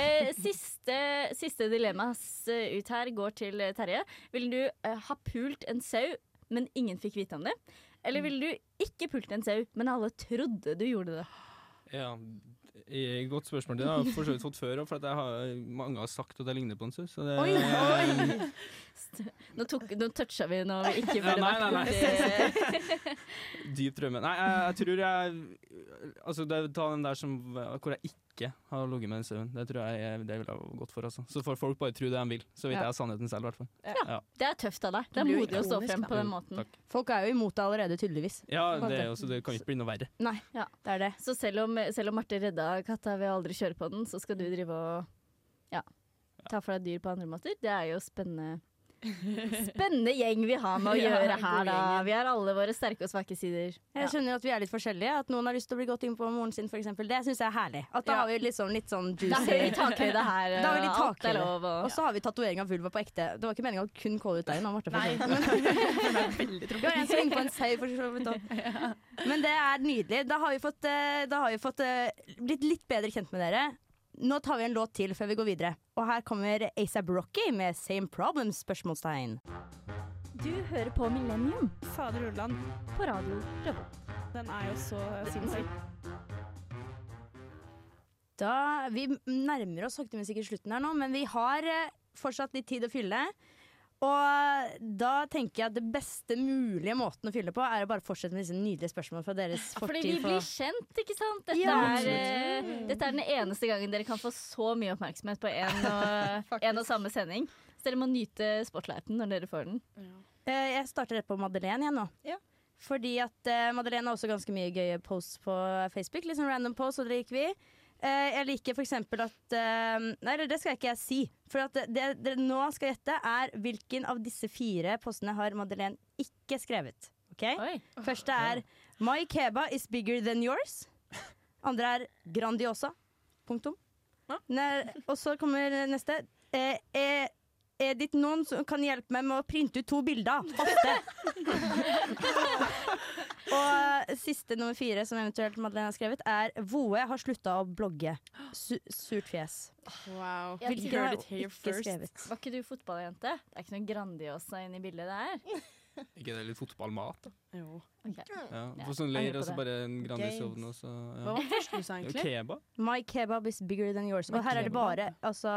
Speaker 5: Eh, siste, siste dilemmas eh, ut her går til eh, Terje. Ville du eh, ha pult en sau, men ingen fikk vite om det? Eller ville du ikke pult en sau, men alle trodde du gjorde det?
Speaker 2: Ja, eh, godt spørsmål. Det har jeg for så vidt fått før òg, for at jeg har, mange har sagt at jeg ligner på en sau. Så det
Speaker 5: Oi, oi. Nå, tok, nå toucha vi når vi ikke
Speaker 2: Ja,
Speaker 5: burde
Speaker 2: nei, nei, nei.
Speaker 5: vært borti
Speaker 2: Dyp traume. Nei, jeg, jeg tror jeg Altså, det, ta den der som Hvor jeg ikke har ligget med den sauen. Det tror jeg er- det ville jeg gått for, altså. Så får folk bare tro det de vil. Så vet
Speaker 1: Ja.
Speaker 2: jeg sannheten selv, i hvert fall.
Speaker 5: Ja. Det er tøft av deg. Det
Speaker 1: Det
Speaker 5: er
Speaker 1: blir jo
Speaker 5: modig å stå
Speaker 1: ikonisk,
Speaker 5: frem
Speaker 1: da.
Speaker 5: på den
Speaker 2: Jo,
Speaker 5: måten.
Speaker 2: takk.
Speaker 1: Folk er jo imot det allerede, tydeligvis.
Speaker 2: Ja,
Speaker 1: På en
Speaker 2: det, er
Speaker 1: måte.
Speaker 2: også, det kan ikke bli noe verre.
Speaker 1: Nei, det er det.
Speaker 5: Så selv om, selv om Marte redda katta ved å aldri kjøre på den, så skal du drive og ja, ta for deg dyr på andre måter? Det er jo spennende. Spennende gjeng vi har med å
Speaker 1: Ja,
Speaker 5: gjøre
Speaker 1: god
Speaker 5: her, da. Vi har alle våre sterke og svake sider.
Speaker 1: Jeg skjønner at vi er litt forskjellige. At noen har lyst til å bli godt inn på moren sin, f.eks. Det syns jeg er herlig. At da
Speaker 5: Ja.
Speaker 1: har vi liksom litt sånn juicy
Speaker 5: Da har vi takhøyde her,
Speaker 1: Da har vi litt
Speaker 5: og alt er
Speaker 1: takhøyde.
Speaker 5: lov, og-
Speaker 1: Og så har vi tatovering av vulva på ekte. Det var ikke meninga å kun calle ut deg nå, Marte. for
Speaker 5: Nei.
Speaker 1: sånn. Det var en som ringte på en sau, for så vidt også. Men det er nydelig. Da har vi fått, eh, da har vi fått eh, blitt litt bedre kjent med dere. Nå tar vi en låt til før vi går videre. Og her kommer ASAP Rocky med 'Same Problem?' spørsmålstegn.
Speaker 5: Du hører på Millennium.
Speaker 7: Fader Ulland.
Speaker 5: På radio.
Speaker 7: Den er jo så sinnssyk.
Speaker 1: Da, vi nærmer oss sakte, men sikkert slutten her nå, men vi har eh, fortsatt litt tid å fylle. Og da tenker jeg at det beste mulige måten å fylle på, er å bare fortsette med disse nydelige spørsmålene fra deres fortid.
Speaker 5: Fordi vi
Speaker 1: for-
Speaker 5: blir kjent, ikke sant? Dette,
Speaker 1: Ja. Mm.
Speaker 5: er, eh, dette er den eneste gangen dere kan få så mye oppmerksomhet på en og, en og samme sending. Så dere må nyte spotlighten når dere får den.
Speaker 1: Eh, Jeg starter rett på Madeleine igjen nå. Fordi at eh, Madeleine har også ganske mye gøye posts på Facebook. Litt sånn random posts, og det liker vi. Eh, jeg liker f.eks. at eh, Nei, det skal jeg ikke jeg si. For at det dere nå skal gjette, er hvilken av disse fire postene har Madeleine ikke skrevet. Ok? Første er My keba is bigger than yours. Andre er Grandiosa. Punktum. Ne- Og så kommer neste. Eh, eh, er det noen som kan hjelpe meg med å printe ut to bilder? Ofte. Og siste nummer fire som eventuelt Madeleine har skrevet, er Voe har slutta å blogge. Su surt fjes.
Speaker 3: Wow.
Speaker 1: Jeg Hvilken har ikke skrevet?
Speaker 5: Var ikke du fotballjente? Det er ikke noe Grandiosa inne i bildet der.
Speaker 2: Ikke det litt fotballmat, da?
Speaker 3: Jo.
Speaker 2: Ja, på sånn
Speaker 5: Angrer
Speaker 2: leir,
Speaker 5: på
Speaker 2: og så
Speaker 5: det.
Speaker 2: bare en Grandis
Speaker 5: Games.
Speaker 2: ovn, og så ja.
Speaker 5: Hva var første du sa,
Speaker 2: Jo,
Speaker 5: egentlig?
Speaker 2: Kebab.
Speaker 1: My kebab is bigger than yours. Og her er det bare altså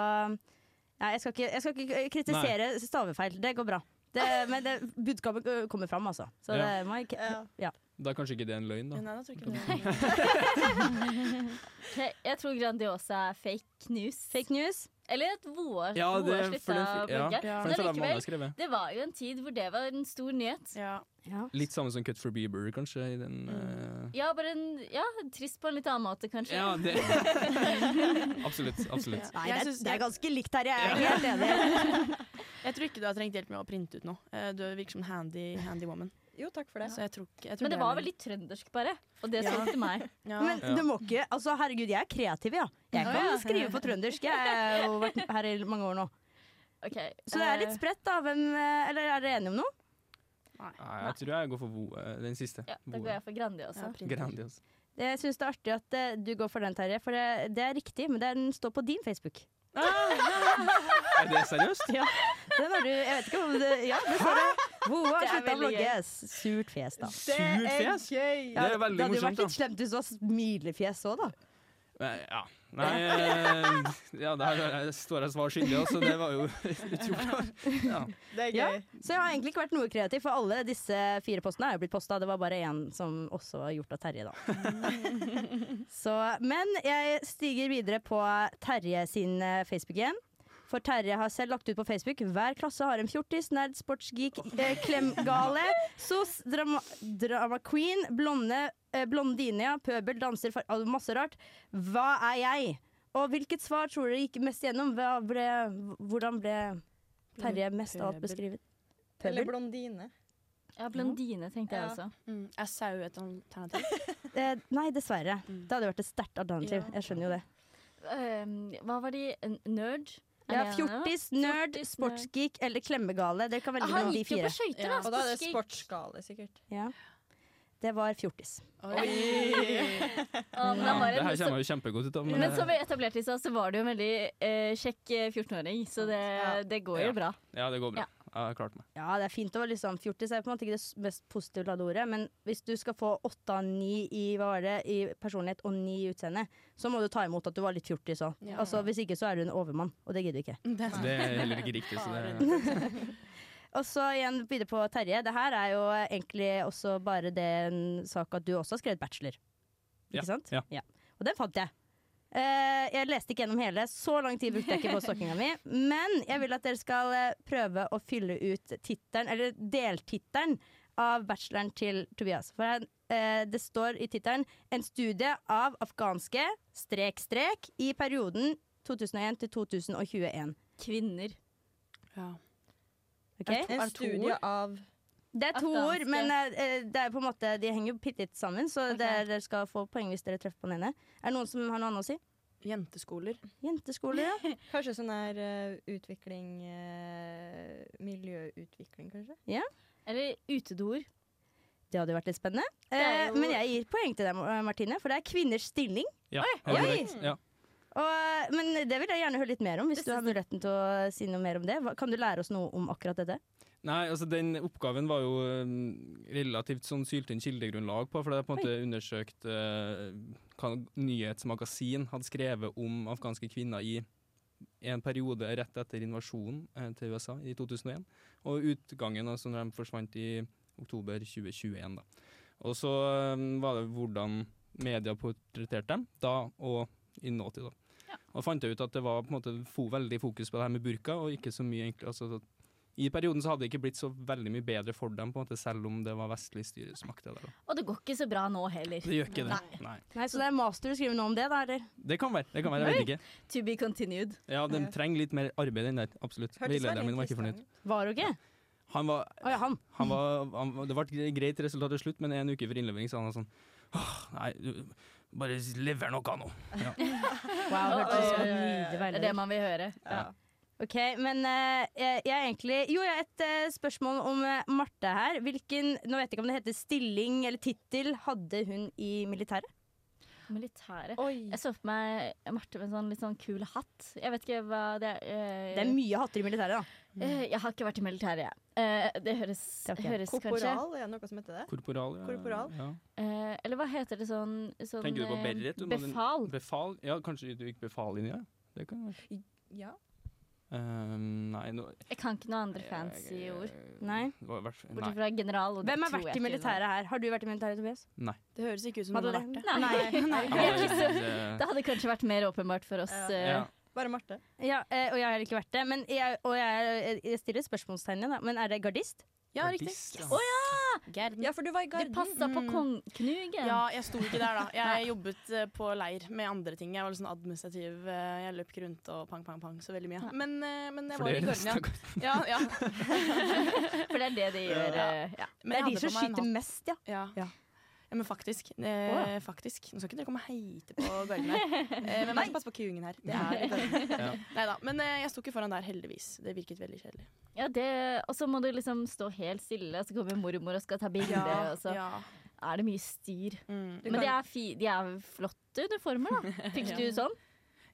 Speaker 1: Nei, jeg skal ikke, jeg skal ikke eh, kritisere stavefeil. Det går bra. Det, men det, budskapet ø, kommer fram, altså. Så det
Speaker 2: Ja.
Speaker 1: er my
Speaker 5: Eh,
Speaker 1: ke- ja.
Speaker 2: Da er kanskje ikke det en løgn, da.
Speaker 3: Nei, da tror jeg ikke det.
Speaker 5: Ok, Jeg tror Grandiosa er fake news.
Speaker 1: Fake news?
Speaker 5: Eller at Voa
Speaker 2: Ja,
Speaker 5: Voa
Speaker 2: det-
Speaker 5: slutta
Speaker 2: for det-
Speaker 5: å
Speaker 2: ja,
Speaker 5: blogge.
Speaker 2: for det
Speaker 5: Men
Speaker 2: tror jeg mange har
Speaker 5: allikevel,
Speaker 2: skrevet.
Speaker 5: det var jo en tid hvor det var en stor nyhet.
Speaker 3: Ja,
Speaker 2: Litt samme som Cut for Bieber, kanskje, i den eh,
Speaker 5: bare en ja, trist på en litt annen måte, kanskje.
Speaker 2: Ja, det Absolutt. absolutt.
Speaker 1: Nei,
Speaker 3: Jeg
Speaker 1: det,
Speaker 3: synes
Speaker 1: det er
Speaker 3: det-
Speaker 1: ganske likt her, jeg er helt enig.
Speaker 3: Jeg tror ikke du har trengt hjelp med å printe ut noe. Eh, Du virker som en handy, handy woman.
Speaker 4: Jo, takk for
Speaker 3: Så jeg tror ikke jeg tror
Speaker 5: Men det
Speaker 3: er
Speaker 5: var
Speaker 3: min-
Speaker 5: veldig trøndersk, bare. Og det
Speaker 3: Ja.
Speaker 5: solgte meg.
Speaker 1: Men du må ikke Altså, herregud, jeg er kreativ, ja. Jeg
Speaker 5: Ja,
Speaker 1: kan
Speaker 5: ja.
Speaker 1: skrive på trøndersk. Jeg har jo vært her i mange år nå.
Speaker 5: Ok,
Speaker 1: Så det er
Speaker 5: eh,
Speaker 1: litt spredt, da. Hvem, eh, eller er dere enige om noe?
Speaker 2: Nei, jeg tror jeg går for Vo, eh, den siste.
Speaker 5: Da går jeg for Grandiosa.
Speaker 2: Grandios.
Speaker 1: Jeg syns det er artig at eh, du går for den, Terje, for det, det er riktig, men det er- den står på din Facebook.
Speaker 2: Er det seriøst?
Speaker 1: Ja, den har du Jeg vet ikke om det Ja, det står det. Voa
Speaker 5: Det er
Speaker 1: slutta å
Speaker 5: veldig
Speaker 1: blogge.
Speaker 5: gøy.
Speaker 1: Surt fjes, da.
Speaker 2: Det er Surt fjes? gøy. Det er veldig
Speaker 1: det hadde jo
Speaker 2: morsomt,
Speaker 1: vært litt slemt hvis det var smilefjes òg, da.
Speaker 2: Nei, ja. Nei eh, Ja, der er- jeg står jeg svar skyldig, også, så det var jo utrolig. Ja.
Speaker 1: Ja, så jeg har egentlig ikke vært noe kreativ, for alle disse fire postene er jo blitt posta. Det var bare én som også var gjort av Terje, da. så, men jeg stiger videre på Terje sin eh, Facebook igjen. For Terje har selv lagt ut på Facebook hver klasse har en fjortis, nerd, sportsgeek, eh, klemgale, sos, drama, drama queen, blonde, eh, blondinia, pøbel, danser, far, ah, masse rart. Hva er jeg? Og hvilket svar tror dere gikk mest igjennom? Hva ble, hvordan ble Terje mest av alt
Speaker 4: Pøbel.
Speaker 1: beskrevet?
Speaker 4: Eller
Speaker 1: Pøbel?
Speaker 4: blondine.
Speaker 5: Ja, blondine tenkte jeg
Speaker 4: Ja.
Speaker 5: også.
Speaker 3: Mm, er sau et alternativ?
Speaker 1: Eh, nei, dessverre. Det hadde vært et sterkt alternativ.
Speaker 5: Ja.
Speaker 1: Jeg skjønner jo det.
Speaker 5: Ehm, hva var de? En Nerd? Er
Speaker 1: Ja,
Speaker 5: det en av dem?
Speaker 1: Fjortis, nerd, sportsgeek eller klemmegale. Dere kan velge
Speaker 5: Han
Speaker 1: mellom de
Speaker 5: gikk jo
Speaker 1: fire.
Speaker 5: på skøyter, da,
Speaker 4: Og da er det
Speaker 5: sportsgeek.
Speaker 4: sportsgale, sikkert.
Speaker 1: Ja. Det var fjortis.
Speaker 5: Ja, men han var en
Speaker 2: Det her
Speaker 5: som-
Speaker 2: kommer jeg jo kjempegodt ut av. men- eh,
Speaker 5: Men som vi etablerte i stad, så var det jo en veldig eh, kjekk eh, 14-åring, så det, det går jo bra.
Speaker 2: Ja, det går bra.
Speaker 5: Ja.
Speaker 2: Jeg har klart meg.
Speaker 1: Ja, det er fint å være liksom Fjortis er på en måte ikke det s- mest positive ladeordet, men hvis du skal få åtte av ni i, hva var det, i personlighet og ni i utseende, så må du ta imot at du var litt fjortis òg.
Speaker 3: Ja.
Speaker 1: Altså, hvis ikke så er du en overmann, og det gidder du ikke.
Speaker 2: Så det er heller ikke riktig. Så det
Speaker 1: Og så igjen videre på Terje. Det her er jo egentlig også bare den sak at du også har skrevet bachelor. Ikke
Speaker 2: Ja,
Speaker 1: sant?
Speaker 2: ja.
Speaker 1: Og den fant jeg. Eh, jeg leste ikke gjennom hele, så lang tid brukte jeg ikke på stalkinga mi. Men jeg vil at dere skal eh, prøve å fylle ut tittelen, eller deltittelen, av bacheloren til Tobias. For han, eh, det står i tittelen 'En studie av afghanske strek strek i perioden 2001 til 2021'.
Speaker 5: Kvinner.
Speaker 3: Ja.
Speaker 1: Ok?
Speaker 4: En studie av
Speaker 1: Det er to ord,
Speaker 4: Afghanske.
Speaker 1: men eh, det er på en måte, de henger jo bitte litt sammen. Så dere- dere skal få poeng hvis dere treffer på den ene. Er det noen som har noe annet å si?
Speaker 3: Jenteskoler.
Speaker 1: Jenteskoler, ja.
Speaker 4: Kanskje sånn her eh, utvikling eh, Miljøutvikling, kanskje?
Speaker 1: ja.
Speaker 5: Eller utedoer.
Speaker 1: Det hadde jo vært litt spennende.
Speaker 4: Det er
Speaker 1: Eh,
Speaker 4: jo-
Speaker 1: men jeg gir poeng til deg, Ma- Martine, for det er kvinners stilling.
Speaker 2: ja,
Speaker 1: Oi!
Speaker 2: helt korrekt. Ja.
Speaker 1: Og, eh, men det vil jeg gjerne høre litt mer om, hvis du har muligheten til å si noe mer om det. Hva, kan du lære oss noe om akkurat dette?
Speaker 2: Nei, altså den oppgaven var jo eh, relativt sånn syltynn kildegrunnlag på, for det er på en måte undersøkt eh, hva nyhetsmagasin hadde skrevet om afghanske kvinner i en periode rett etter invasjonen eh, til USA i 2001, og utgangen altså når de forsvant i oktober 2021. da. Og så um, eh, var det hvordan media portretterte dem da og i nåtid. da. Og fant jeg ut at det var på en måte fo veldig fokus på det her med burka, og ikke så mye egentlig altså, at- I perioden så hadde det ikke blitt så veldig mye bedre for dem, på en måte, selv om det var vestlig styre som makta der. da.
Speaker 5: Og det går ikke så bra nå heller.
Speaker 2: Det gjør ikke det.
Speaker 5: Nei.
Speaker 2: Nei.
Speaker 1: Nei, Så det er master du skriver nå om det, da? eller?
Speaker 2: Det kan være, det kan være, jeg vet ikke.
Speaker 5: To be continued.
Speaker 2: Ja, de trenger litt mer arbeid enn der, absolutt. Veilederen min var ikke fornøyd.
Speaker 1: Var du ikke?
Speaker 2: Han var,
Speaker 1: Å ja, han.
Speaker 2: han var, han, var- det ble et greit resultat til slutt, men en uke før innlevering sa han sånn Åh, nei, du, bare lever noe nå. Ja.
Speaker 1: Wow, det hørtes ut som en
Speaker 5: Oi, oi, oi.
Speaker 1: nydelig
Speaker 5: Det er
Speaker 1: veileder.
Speaker 5: det man vil høre.
Speaker 1: Ok, men eh, jeg, jeg er egentlig Jo, jeg har et eh, spørsmål om eh, Marte her. Hvilken, nå vet jeg ikke om det heter stilling eller tittel, hadde hun i militæret?
Speaker 5: Militæret. Jeg så for meg Marte med en sånn litt sånn kul hatt. Jeg vet ikke hva det er. eh,
Speaker 1: Det er mye hatter i militæret, da.
Speaker 5: eh, Jeg har ikke vært i militæret, jeg. Eh, Det høres,
Speaker 1: ok.
Speaker 5: høres kanskje
Speaker 4: Korporal, er det noe som heter det?
Speaker 2: Korporal. Ja.
Speaker 4: Korporal.
Speaker 2: Ja.
Speaker 5: Eh, Eller hva heter det sånn, sånn
Speaker 2: Tenker du på
Speaker 5: eh,
Speaker 2: Berit? Du må-
Speaker 5: Befal?
Speaker 2: befal? Ja, kanskje du gikk befallinja? Det kan være.
Speaker 4: Ja.
Speaker 2: Ehm, nei, nå Eh,
Speaker 5: Jeg kan ikke noen andre fancy ord. Nei.
Speaker 2: det var i hvert fall- nei.
Speaker 5: Bortsett fra general. og det
Speaker 1: Hvem har
Speaker 5: tror
Speaker 1: vært
Speaker 5: jeg
Speaker 1: i
Speaker 5: ikke
Speaker 1: militæret her? Har du vært i militæret, Tobias?
Speaker 2: Nei.
Speaker 3: Det høres ikke ut som
Speaker 1: Hadde
Speaker 3: hun har vært
Speaker 1: det?
Speaker 3: det.
Speaker 1: Nei.
Speaker 5: Nei.
Speaker 2: Ja,
Speaker 5: Jeg
Speaker 2: det-
Speaker 5: visste- Det hadde kanskje vært mer åpenbart for oss. eh,
Speaker 2: Ja.
Speaker 4: Bare Marte.
Speaker 1: Ja, eh, og jeg har ikke vært det. Men jeg, og jeg, jeg stiller spørsmålstegn igjen, da. Men er det gardist?
Speaker 3: Ja, riktig.
Speaker 1: Yes.
Speaker 5: Å ja!
Speaker 4: Ja, for du var i
Speaker 5: Det passa på kong Knugen.
Speaker 3: Ja, jeg sto ikke der, da. Jeg jobbet eh, på leir med andre ting. Jeg var litt sånn administrativ. eh, Jeg løp ikke rundt og pang, pang, pang så veldig mye. Men, eh, men jeg var i
Speaker 2: Flere
Speaker 3: Gardnia. Ja, ja.
Speaker 5: For det er det de gjør. eh, Ja.
Speaker 3: Men jeg
Speaker 1: Det er de
Speaker 3: hadde
Speaker 1: som
Speaker 3: på meg en
Speaker 1: skyter
Speaker 3: hatt.
Speaker 1: mest, ja.
Speaker 3: Ja. ja. men faktisk. Eh,
Speaker 1: Å,
Speaker 3: faktisk. Nå skal ikke dere komme og heite på Gardnia. Eh, men man skal passe på kuingen her. Det er litt
Speaker 2: Ja.
Speaker 3: Nei da. Men eh, jeg sto ikke foran der, heldigvis. Det virket veldig kjedelig.
Speaker 5: Ja, det, og så må du liksom stå helt stille, og så kommer mormor og skal ta bilde,
Speaker 3: Ja, altså.
Speaker 5: og så
Speaker 3: ja.
Speaker 5: er det mye styr.
Speaker 3: Mm.
Speaker 5: Men de er, fi, de er flotte uniformer, da. Fikk
Speaker 3: Ja.
Speaker 5: du sånn?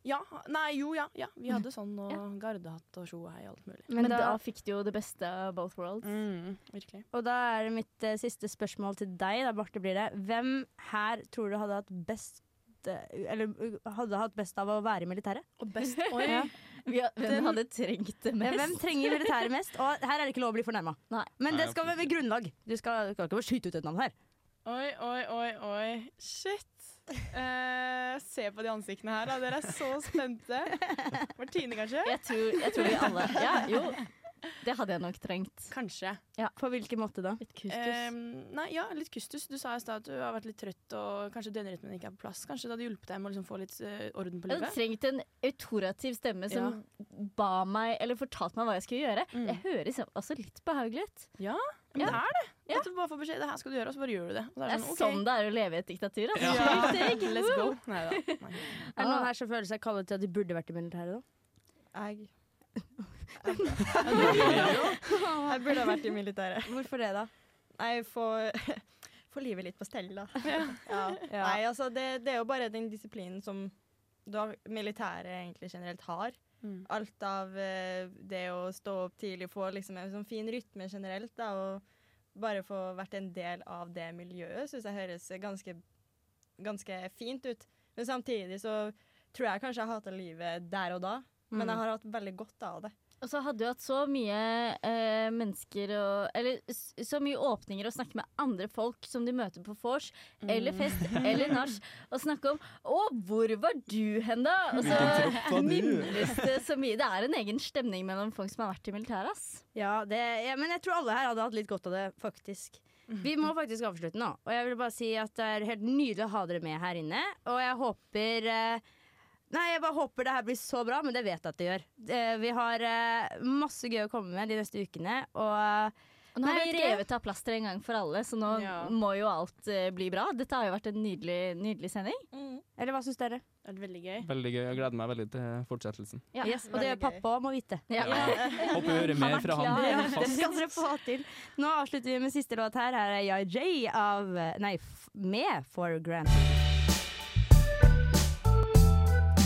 Speaker 3: Ja. Nei, jo, ja. ja. Vi hadde sånn og gardehatt og tjo og hei, alt mulig.
Speaker 5: Men, da, fikk du jo det beste av both worlds.
Speaker 3: Mm. virkelig.
Speaker 1: Og da er det mitt eh, siste spørsmål til deg, da, Barte, blir det. Hvem her tror du hadde hatt best eh, Eller uh, hadde hatt best av å være i militæret?
Speaker 3: Og best
Speaker 5: Oi. Vi, har- hvem
Speaker 1: Den-
Speaker 5: hadde trengt
Speaker 1: Ja,
Speaker 5: det mest?
Speaker 1: Hvem trenger militæret mest? Og her er det ikke lov å bli fornærma.
Speaker 5: Nei.
Speaker 1: Men
Speaker 5: Nei,
Speaker 1: det skal være med grunnlag. Du skal, du skal ikke bare skyte ut et navn her.
Speaker 3: Oi, oi, oi, oi. Shit. Eh, se på de ansiktene her, da. Dere er så spente. Martine, kanskje?
Speaker 5: Jeg tror, jeg tror vi alle Ja, jo. Det hadde jeg nok trengt.
Speaker 3: Kanskje.
Speaker 1: På hvilken måte da?
Speaker 5: Litt kustus.
Speaker 3: Eh, nei, ja, litt kustus. Du sa i stad at du har vært litt trøtt og kanskje døgnrytmen ikke er på plass. Kanskje det hadde hjulpet deg med å liksom få litt eh, orden på
Speaker 5: jeg hadde
Speaker 3: livet?
Speaker 5: trengt en autorativ stemme som ba meg, eller fortalte meg hva jeg skulle gjøre.
Speaker 1: Mm.
Speaker 5: Det høres også litt behagelig ut.
Speaker 3: Ja, men det er det. At du bare får beskjed det her skal du gjøre, og så bare gjør du det. Og så
Speaker 5: Det
Speaker 3: er
Speaker 5: er
Speaker 3: det sånn,
Speaker 5: sånn
Speaker 3: ok.
Speaker 5: det er å leve i et diktatur. Altså.
Speaker 3: Ja.
Speaker 5: Helt digg.
Speaker 3: Let's go.
Speaker 5: Woo.
Speaker 3: Neida. Nei da.
Speaker 1: Er det noen her som føler seg kallet til at de burde vært i militæret, da?
Speaker 4: Jeg Jeg burde ha vært i militæret.
Speaker 1: Hvorfor det, da?
Speaker 4: Nei, få få livet litt på stell, da. Ja.
Speaker 1: Ja.
Speaker 4: Nei, altså, det, det er jo bare den disiplinen som da militæret egentlig generelt har.
Speaker 3: Mm.
Speaker 4: Alt av eh, det å stå opp tidlig, få liksom en sånn fin rytme generelt, da, og bare få vært en del av det miljøet, syns jeg høres ganske, ganske fint ut. Men samtidig så tror jeg kanskje jeg hata livet der og da,
Speaker 5: Mm.
Speaker 4: men jeg har hatt veldig godt av det.
Speaker 5: Og så hadde du hatt så mye eh, mennesker og Eller s- så mye åpninger å snakke med andre folk som du møter på vors eller fest eller nach, og snakke om 'Å, hvor var du hen, da?' Og
Speaker 1: Hvilken
Speaker 5: så
Speaker 1: tropp var du?
Speaker 5: mimres det så mye. Det er en egen stemning mellom folk som har vært i militæret, ass.
Speaker 1: Ja, det, ja, men jeg tror alle her hadde hatt litt godt av det, faktisk. Vi må faktisk avslutte nå. Og jeg vil bare si at det er helt nydelig å ha dere med her inne. Og jeg håper eh, Nei, jeg bare håper det her blir så bra, men det vet jeg at det gjør. Eh, Vi har eh, masse gøy å komme med de neste ukene, og
Speaker 5: Og nå har
Speaker 1: Nei,
Speaker 5: vi
Speaker 1: vet ikke.
Speaker 5: revet av plasteret en gang for alle, så nå
Speaker 1: Ja.
Speaker 5: må jo alt eh, bli bra. Dette har jo vært en nydelig, nydelig sending.
Speaker 1: eh, Eller hva syns dere?
Speaker 3: Det er veldig gøy.
Speaker 2: Veldig gøy. Jeg gleder meg veldig til fortsettelsen.
Speaker 1: Yes, og det gjør pappa òg, må vite.
Speaker 2: Håper vi hører mer fra han.
Speaker 1: Ja, det
Speaker 2: Fast.
Speaker 1: skal dere få til. Nå avslutter vi med siste låt her. Her er YJ av eh, Nei, f med For Grand.